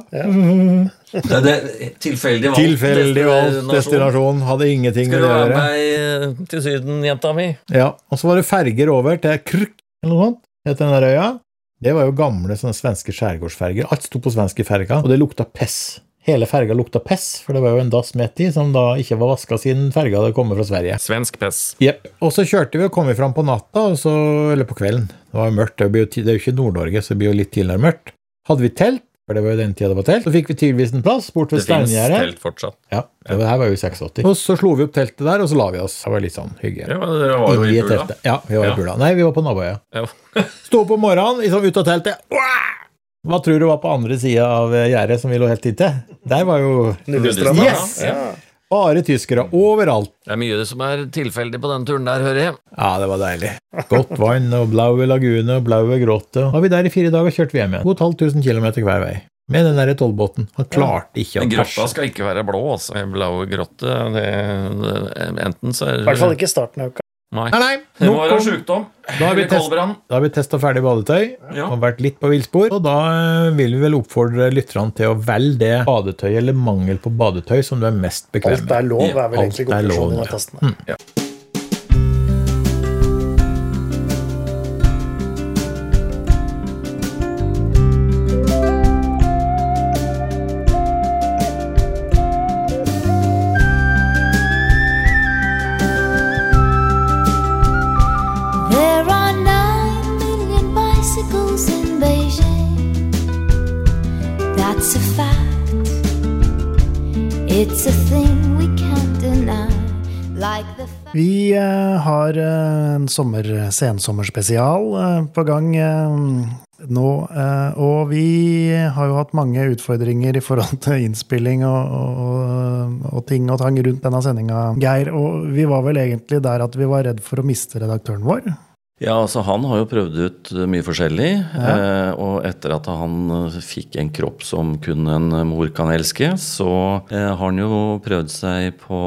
[SPEAKER 2] Det- det- Tilfeldig valgt.
[SPEAKER 3] Tilfeldig valgt
[SPEAKER 2] destinasjon.
[SPEAKER 3] destinasjon, hadde ingenting med
[SPEAKER 2] Skal du
[SPEAKER 3] det å
[SPEAKER 2] være
[SPEAKER 3] gjøre.
[SPEAKER 2] med meg til Syden, jenta mi?
[SPEAKER 3] Ja, og så var det ferger over til Krk, eller noe sånt, het den der øya. Det var jo gamle sånne svenske skjærgårdsferger. Alt sto på svenske ferger, og det lukta pess. Hele ferga lukta pess, for det var jo en dass midt i som da ikke var vaska siden ferga hadde kommet fra Sverige.
[SPEAKER 9] Svensk pess.
[SPEAKER 3] Jep. Og så kjørte vi og kom vi fram på natta, og så, eller på kvelden. Det var jo mørkt, det blir jo ti- det er jo ikke Nord-Norge, så det blir jo litt tidligere mørkt. Hadde vi telt, for det var jo den tida det var telt, så fikk vi tydeligvis en plass bort ved
[SPEAKER 9] Det finnes
[SPEAKER 3] steingjerdet.
[SPEAKER 9] telt fortsatt.
[SPEAKER 3] Ja, det var- her var jo i 86. Og så slo vi opp teltet der, og så la vi oss. Det var litt sånn hygge.
[SPEAKER 9] Ja, men dere var jo
[SPEAKER 3] Inn
[SPEAKER 9] i
[SPEAKER 3] i
[SPEAKER 9] bula.
[SPEAKER 3] teltet. Ja, vi var i
[SPEAKER 9] Ja.
[SPEAKER 3] bula. Nei, vi var på naboøya.
[SPEAKER 9] Ja.
[SPEAKER 3] Sto opp om morgenen, liksom ut av teltet. Uah! Hva tror du var på andre sida av eh, gjerdet som vi lå helt inntil? Der var jo
[SPEAKER 9] Nudistene, ja.
[SPEAKER 3] Yes! bare tyskere overalt.
[SPEAKER 1] Det er mye som er tilfeldig på denne turen der, hører jeg.
[SPEAKER 3] Ja, det var deilig. Godt vann og blaue lagune og blaue gråte. Var vi der i fire dager, kjørte vi hjem igjen. 2500 km hver vei. Med den derre tollbåten. Han klarte ikke å
[SPEAKER 9] Men grotta
[SPEAKER 3] perse.
[SPEAKER 9] skal ikke være blå, altså. En Blau grotte, det, det Enten så er
[SPEAKER 8] I hvert fall ikke starten av uka.
[SPEAKER 9] Nei.
[SPEAKER 3] Nei, nei,
[SPEAKER 9] Det
[SPEAKER 3] nok
[SPEAKER 9] må være
[SPEAKER 3] om
[SPEAKER 9] sjukdom.
[SPEAKER 3] Da har vi
[SPEAKER 9] Eller
[SPEAKER 3] test-
[SPEAKER 9] koldbrann.
[SPEAKER 3] Da har vi testa ferdig badetøy
[SPEAKER 9] Ja.
[SPEAKER 3] og vært litt på villspor. Og da eh, vil vi vel oppfordre lytterne til å velge det badetøy eller mangel på badetøy som du er mest bekvem
[SPEAKER 8] Alt
[SPEAKER 3] med.
[SPEAKER 8] er lov, er vel
[SPEAKER 3] Alt
[SPEAKER 8] egentlig
[SPEAKER 3] er
[SPEAKER 8] konklusjonen
[SPEAKER 3] lov,
[SPEAKER 8] i
[SPEAKER 3] ja.
[SPEAKER 8] denne testen.
[SPEAKER 7] There are nine million bicycles in Beijing. That's a fact. It's a thing we can't deny. Like the fact.
[SPEAKER 4] Vi eh, har eh, en sommer, sensommerspesial eh, på gang eh, nå. Eh, og vi har jo hatt mange utfordringer i forhold til innspilling og, og, og ting og tang rundt denne sendinga, Geir. Og vi var vel egentlig der at vi var redd for å miste redaktøren vår.
[SPEAKER 2] Ja, altså Han har jo prøvd ut mye forskjellig. Eh, og etter at han eh, fikk en kropp som kun en eh, mor kan elske, så eh, har han jo prøvd seg på,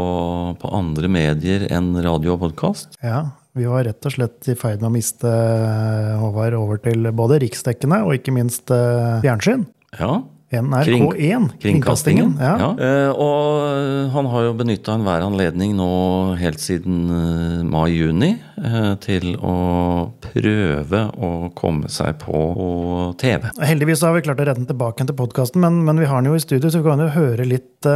[SPEAKER 2] på andre medier enn radio og podkast.
[SPEAKER 4] Ja, Vi var rett og slett i ferd med å miste eh, Håvard over til både riksdekkende og ikke minst eh, fjernsyn.
[SPEAKER 2] Ja.
[SPEAKER 4] NRK1.
[SPEAKER 2] Kringkastingen.
[SPEAKER 4] Ja.
[SPEAKER 2] Eh, og eh, han har jo benytta enhver anledning nå helt siden eh, mai-juni eh, til å prøve å komme seg på på TV.
[SPEAKER 4] Heldigvis så har vi klart å redde den tilbake igjen til podkasten, men, men vi har den jo i studio, så vi kan jo høre litt,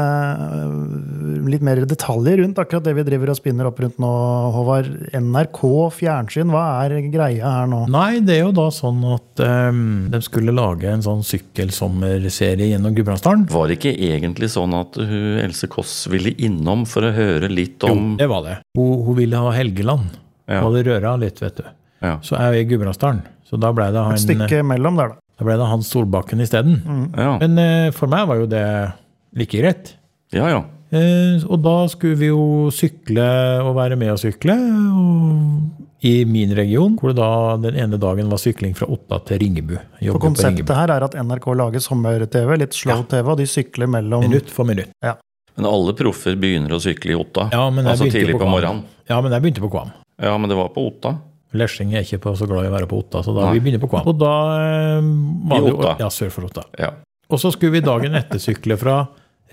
[SPEAKER 4] eh, litt mer detaljer rundt akkurat det vi driver og spinner opp rundt nå, Håvard. NRK fjernsyn, hva er greia her nå?
[SPEAKER 3] Nei, det er jo da sånn at eh, de skulle lage en sånn sykkelsommerserie gjennom Gudbrandsdalen.
[SPEAKER 2] Var det ikke egentlig sånn at hun Else Kåss ville innom for å høre litt om
[SPEAKER 3] Det var det. Hun, hun ville ha Helgeland.
[SPEAKER 2] Ja.
[SPEAKER 3] Hun hadde røra litt, vet du.
[SPEAKER 2] Ja.
[SPEAKER 3] Så er vi i Gudbrandsdalen. Så da ble det
[SPEAKER 4] Et
[SPEAKER 3] han,
[SPEAKER 4] stykke mellom der, da.
[SPEAKER 3] da ble det han Solbakken isteden.
[SPEAKER 2] Ja,
[SPEAKER 3] Men eh, for meg var jo det like greit.
[SPEAKER 2] ja. ja.
[SPEAKER 3] Eh, og da skulle vi jo sykle og være med og sykle. Og I min region, hvor det da den ene dagen var sykling fra Otta til Ringebu. Jeg
[SPEAKER 4] For
[SPEAKER 3] jobbet på
[SPEAKER 4] konseptet
[SPEAKER 3] Ringebu.
[SPEAKER 4] her er at NRK lager sommer-TV, litt slow-TV, og de sykler mellom
[SPEAKER 3] Minutt for minutt.
[SPEAKER 2] Men alle proffer begynner å sykle i Otta.
[SPEAKER 3] Ja, men jeg
[SPEAKER 2] altså
[SPEAKER 3] begynte
[SPEAKER 2] tidlig
[SPEAKER 3] på
[SPEAKER 2] på,
[SPEAKER 3] Kvam.
[SPEAKER 2] morgenen.
[SPEAKER 3] Ja, men jeg begynte på Kvam.
[SPEAKER 2] Ja, men det var på Otta.
[SPEAKER 3] Lesjing er ikke på, så glad i å være på Otta, så da
[SPEAKER 2] Nei.
[SPEAKER 3] vi begynner på Kvam. Og da eh,
[SPEAKER 2] I
[SPEAKER 3] var det jo
[SPEAKER 2] Otta.
[SPEAKER 3] Ja, sør for Otta.
[SPEAKER 2] Ja.
[SPEAKER 3] Og så skulle vi dagen etter sykle fra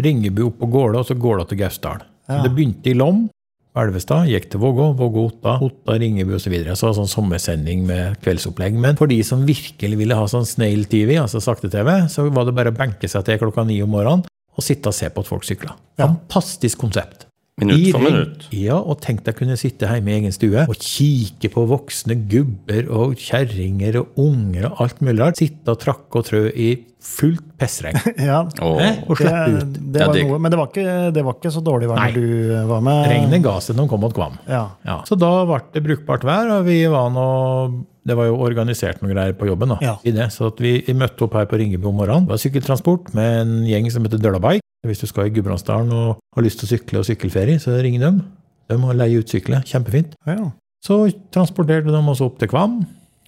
[SPEAKER 3] Ringebu opp på Gåla, og så Gåla til Gausdal. Så Det begynte i Lom, Elvestad, gikk til Vågå, Vågå Otta, Otta, Ringebu osv. Så, videre. så sånn sommersending med kveldsopplegg. Men for de som virkelig ville ha sånn snail-TV, altså sakte-TV, så var det bare å benke seg til klokka ni om morgenen og sitte og se på at folk sykla. Fantastisk konsept.
[SPEAKER 2] Minutt
[SPEAKER 3] I
[SPEAKER 2] for
[SPEAKER 3] ring.
[SPEAKER 2] minutt.
[SPEAKER 3] Ja, og tenk deg kunne sitte hjemme i egen stue og kikke på voksne gubber og kjerringer og unger og alt mulig rart. Sitte og trakke og trø i fullt pissregn
[SPEAKER 4] Ja,
[SPEAKER 2] Og
[SPEAKER 3] og
[SPEAKER 4] det,
[SPEAKER 3] slippe ut.
[SPEAKER 4] det
[SPEAKER 2] Ja,
[SPEAKER 4] var
[SPEAKER 2] det-
[SPEAKER 4] noe, men det var ikke, det var ikke så dårlig vær
[SPEAKER 3] Nei.
[SPEAKER 4] når du eh, var med.
[SPEAKER 3] Regnet ga seg når de kom mot Kvam.
[SPEAKER 4] Ja.
[SPEAKER 3] Ja. Så da ble det brukbart vær, og vi var nå Det var jo organisert noen greier på jobben. da,
[SPEAKER 4] Ja.
[SPEAKER 3] i det, Så at vi møtte opp her på Ringebu om morgenen. Det var sykkeltransport med en gjeng som heter Dølabike. Hvis du skal i Gudbrandsdalen og har lyst til å sykle og sykkelferie, så ring dem. De må leie ut sykler. Kjempefint.
[SPEAKER 4] Ja.
[SPEAKER 3] Så transporterte de oss opp til Kvam.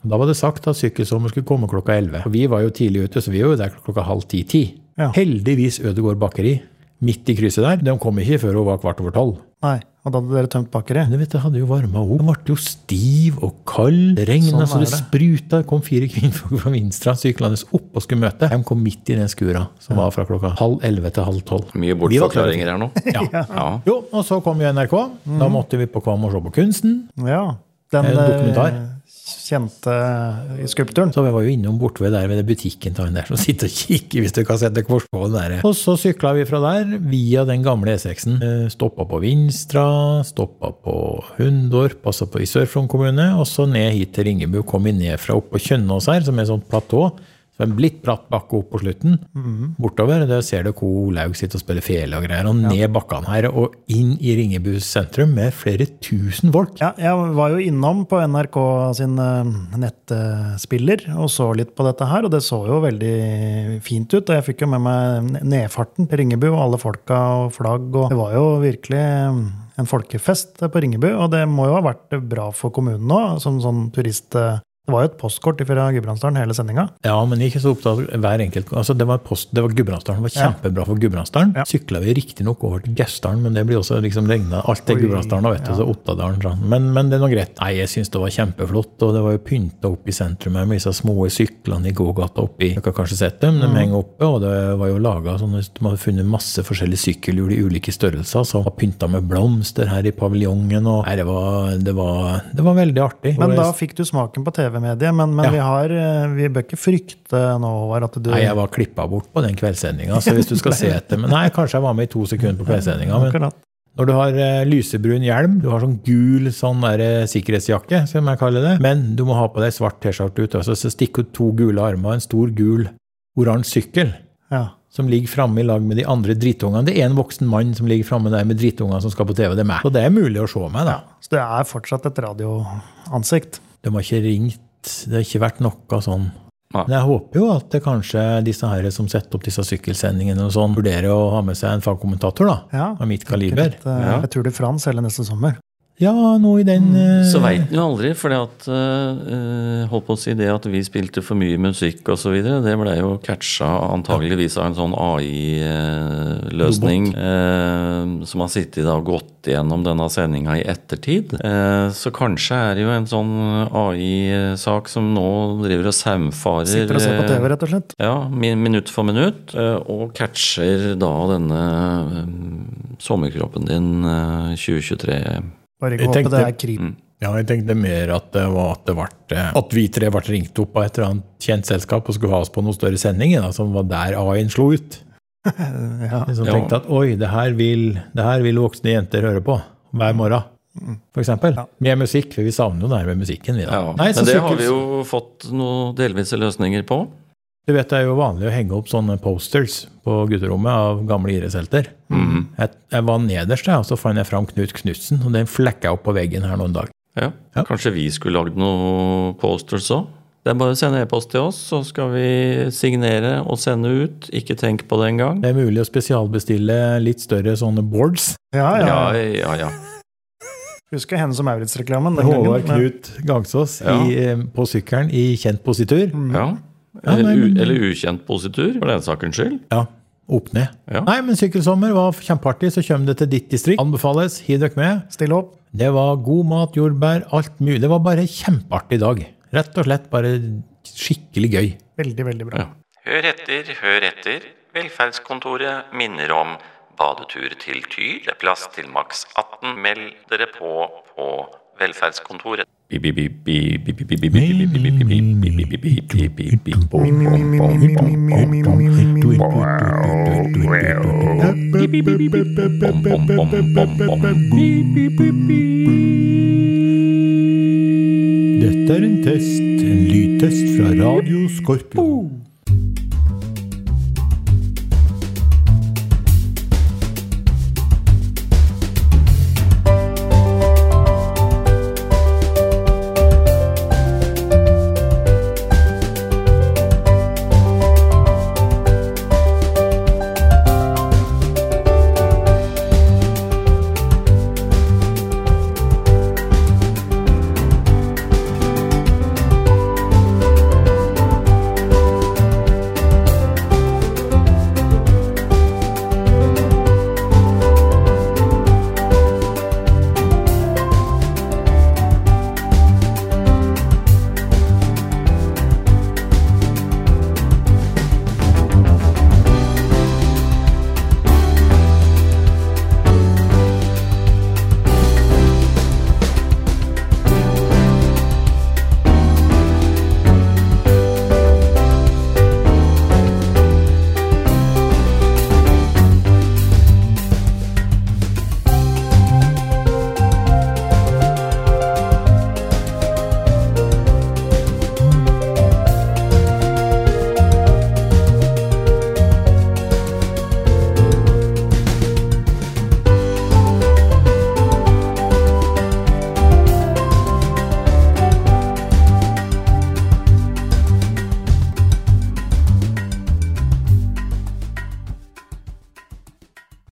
[SPEAKER 3] Da var det sagt at sykkelsommer skulle komme klokka 11. Og vi var jo tidlig ute, så vi var jo der klokka halv ti-ti.
[SPEAKER 4] Ja.
[SPEAKER 3] Heldigvis Ødegård bakeri midt i krysset der. De kom ikke før hun var kvart over tolv.
[SPEAKER 4] Nei, og da hadde dere tømt bakeriet?
[SPEAKER 3] Men du vet, det hadde jo varma opp. Den ble jo stiv og kald. Det regna
[SPEAKER 4] Sånn
[SPEAKER 3] så det
[SPEAKER 4] er det.
[SPEAKER 3] spruta. Det kom fire kvinnfolk fra Vinstra syklende opp og skulle møte. De kom midt i den skura, som var fra klokka halv elleve til halv tolv.
[SPEAKER 2] mye
[SPEAKER 3] Vi var klare.
[SPEAKER 2] bortforklaringer her nå.
[SPEAKER 3] Ja.
[SPEAKER 2] Ja.
[SPEAKER 3] Jo, og så kom jo NRK.
[SPEAKER 4] Mm.
[SPEAKER 3] Da måtte vi på Kvam og se på kunsten.
[SPEAKER 4] Ja. Den
[SPEAKER 3] En dokumentar.
[SPEAKER 4] eh, kjente eh, skulpturen.
[SPEAKER 3] Så vi var jo innom borte ved der ved den butikken til han der som sitter og kikker hvis du kan sette kors på den der. Og så sykla vi fra der via den gamle E6-en. Eh, Stoppa på Vinstra, stoppa på Hundorp, altså på i Sør-Fron kommune, og så ned hit til Ringebu. Kom vi ned fra oppå Kjønnås her, som er sånn platå. Så en litt bratt bakke opp på slutten. Bortover. Der ser du hvor Laug sitter og spiller fele og greier. Og ned bakkene her og inn i Ringebu sentrum med flere tusen folk.
[SPEAKER 4] Ja, jeg var jo innom på NRK sin eh, nettspiller og så litt på dette her, og det så jo veldig fint ut. Og jeg fikk jo med meg n- nedfarten til Ringebu og alle folka og flagg, og det var jo virkelig eh, en folkefest på Ringebu. Og det må jo ha vært bra for kommunen òg, som sånn turist... eh, Det var jo et postkort fra Gudbrandsdalen hele sendinga.
[SPEAKER 3] Ja, men ikke så opptatt av hver enkelt. Altså, det var, post, det var Gudbrandsdalen. Det var
[SPEAKER 4] Ja.
[SPEAKER 3] kjempebra for Gudbrandsdalen.
[SPEAKER 4] Ja.
[SPEAKER 3] Syklet Sykla vi riktignok over til Gausdalen, men det blir også liksom regna alt til
[SPEAKER 4] Oi,
[SPEAKER 3] Gudbrandsdalen og vet du,
[SPEAKER 4] ja.
[SPEAKER 3] så Ottadalen. sånn. Men, men det er nå greit. Nei, jeg syns det var kjempeflott, og det var jo pynta opp i sentrum her med disse små syklene i gågata oppi. Dere har kanskje sett dem, de henger oppe, og det var jo laga sånn at man hadde funnet masse forskjellige sykkelhjul i ulike størrelser, som var pynta med blomster her i paviljongen, og nei, det var, det var, det var veldig artig.
[SPEAKER 4] Men
[SPEAKER 3] Og
[SPEAKER 4] da
[SPEAKER 3] jeg-
[SPEAKER 4] fikk du smaken på TV-mediet. Men, men
[SPEAKER 3] Ja.
[SPEAKER 4] vi, har, eh, vi bør ikke frykte nå, Håvard, at du
[SPEAKER 3] Nei, jeg var klippa bort på den kveldssendinga, så hvis du skal se etter men Nei, kanskje jeg var med i to sekunder på kveldssendinga, men
[SPEAKER 4] Akkurat.
[SPEAKER 3] når du har eh, lysebrun hjelm, du har sånn gul sånn der, eh, sikkerhetsjakke, som jeg kaller det, men du må ha på deg svart T-skjorte ut, altså, så stikk ut to gule armer og en stor gul oransje sykkel.
[SPEAKER 4] Ja.
[SPEAKER 3] Som ligger framme i lag med de andre drittungene. Det er en voksen mann som ligger framme der med drittungene som skal på TV. Det er meg. Så det er mulig å se meg, da.
[SPEAKER 4] Så det er fortsatt et radioansikt.
[SPEAKER 3] De har ikke ringt, det har ikke vært noe sånn.
[SPEAKER 2] Nei.
[SPEAKER 3] Men jeg håper jo at det kanskje disse her som setter opp disse sykkelsendingene og sånn, vurderer å ha med seg en fagkommentator, da.
[SPEAKER 4] Ja.
[SPEAKER 3] Av mitt kaliber.
[SPEAKER 4] Et, eh,
[SPEAKER 2] Ja.
[SPEAKER 4] Jeg tror det er Frans hele neste sommer.
[SPEAKER 3] Ja, noe i den eh,
[SPEAKER 2] Så
[SPEAKER 4] Mm.
[SPEAKER 2] veit en jo aldri, for at eh, holdt på å si det at vi spilte for mye musikk osv., det ble jo catcha antageligvis av en sånn AI-løsning eh, som har sittet da og gått gjennom denne sendinga i ettertid. Eh, så kanskje er det jo en sånn AI-sak som nå driver og saumfarer
[SPEAKER 4] Sitter og ser på
[SPEAKER 2] eh,
[SPEAKER 4] TV, rett og slett.
[SPEAKER 2] ja, min, minutt for minutt, eh, og catcher da denne eh, sommerkroppen din eh, 2023.
[SPEAKER 4] Bare
[SPEAKER 3] Jeg
[SPEAKER 4] ikke håpe det
[SPEAKER 3] tenkte-
[SPEAKER 4] er kryp.
[SPEAKER 3] Ja, jeg tenkte mer at det var at det ble At vi tre ble ringt opp av et eller annet kjent selskap og skulle ha oss på noen større sending, da, som var der AI-en slo ut.
[SPEAKER 4] Eh, Ja.
[SPEAKER 3] De som
[SPEAKER 2] Ja.
[SPEAKER 3] tenkte at oi, det her, vil, det her vil voksne jenter høre på hver morgen. For eksempel. Med musikk, for vi savner jo det her med musikken. Vi, da.
[SPEAKER 2] Mm. Ja,
[SPEAKER 3] Nei, så
[SPEAKER 2] Men det har
[SPEAKER 3] sykkels-
[SPEAKER 2] vi jo fått noen delvise løsninger på.
[SPEAKER 3] Du vet, Det er jo vanlig å henge opp sånne posters på gutterommet av gamle idrettshelter.
[SPEAKER 2] Mhm.
[SPEAKER 3] Jeg, jeg var nederst, jeg, og så fant jeg fram Knut Knutsen, og den flekka jeg opp på veggen her noen dag.
[SPEAKER 2] Ja.
[SPEAKER 3] Ja.
[SPEAKER 2] Kanskje vi skulle lagd noen posters òg? Det er bare å sende e-post til oss, så skal vi signere og sende ut. Ikke tenk på det engang.
[SPEAKER 3] Det er mulig å spesialbestille litt større sånne boards.
[SPEAKER 4] Ja, ja.
[SPEAKER 2] Ja, ja, ja.
[SPEAKER 4] Husker Hennes og Maurits-reklamen. den gangen,
[SPEAKER 3] Håvard
[SPEAKER 4] men-
[SPEAKER 3] Knut Gangsås
[SPEAKER 2] Ja. Mm.
[SPEAKER 3] i, eh, på sykkelen i kjent positur.
[SPEAKER 2] ja.
[SPEAKER 3] Mm. Ja, nei,
[SPEAKER 2] Eller, u
[SPEAKER 3] men-
[SPEAKER 2] eller ukjent positur, for den sakens skyld.
[SPEAKER 3] Ja, opp ned.
[SPEAKER 2] Ja.
[SPEAKER 3] Nei, men Sykkelsommer var kjempeartig, så kommer det til ditt distrikt. Anbefales, hiv dere med.
[SPEAKER 4] Stille opp.
[SPEAKER 3] Det var god mat, jordbær, alt mulig. Det var bare en kjempeartig dag. Rett og slett bare skikkelig gøy.
[SPEAKER 4] Veldig, veldig bra.
[SPEAKER 2] Ja. Hør etter, hør etter. Velferdskontoret minner om badetur til Tyr. Det er plass til maks 18. Meld dere på på velferdskontoret.
[SPEAKER 3] Dette er en test, en lydtest fra Radio Skorpion.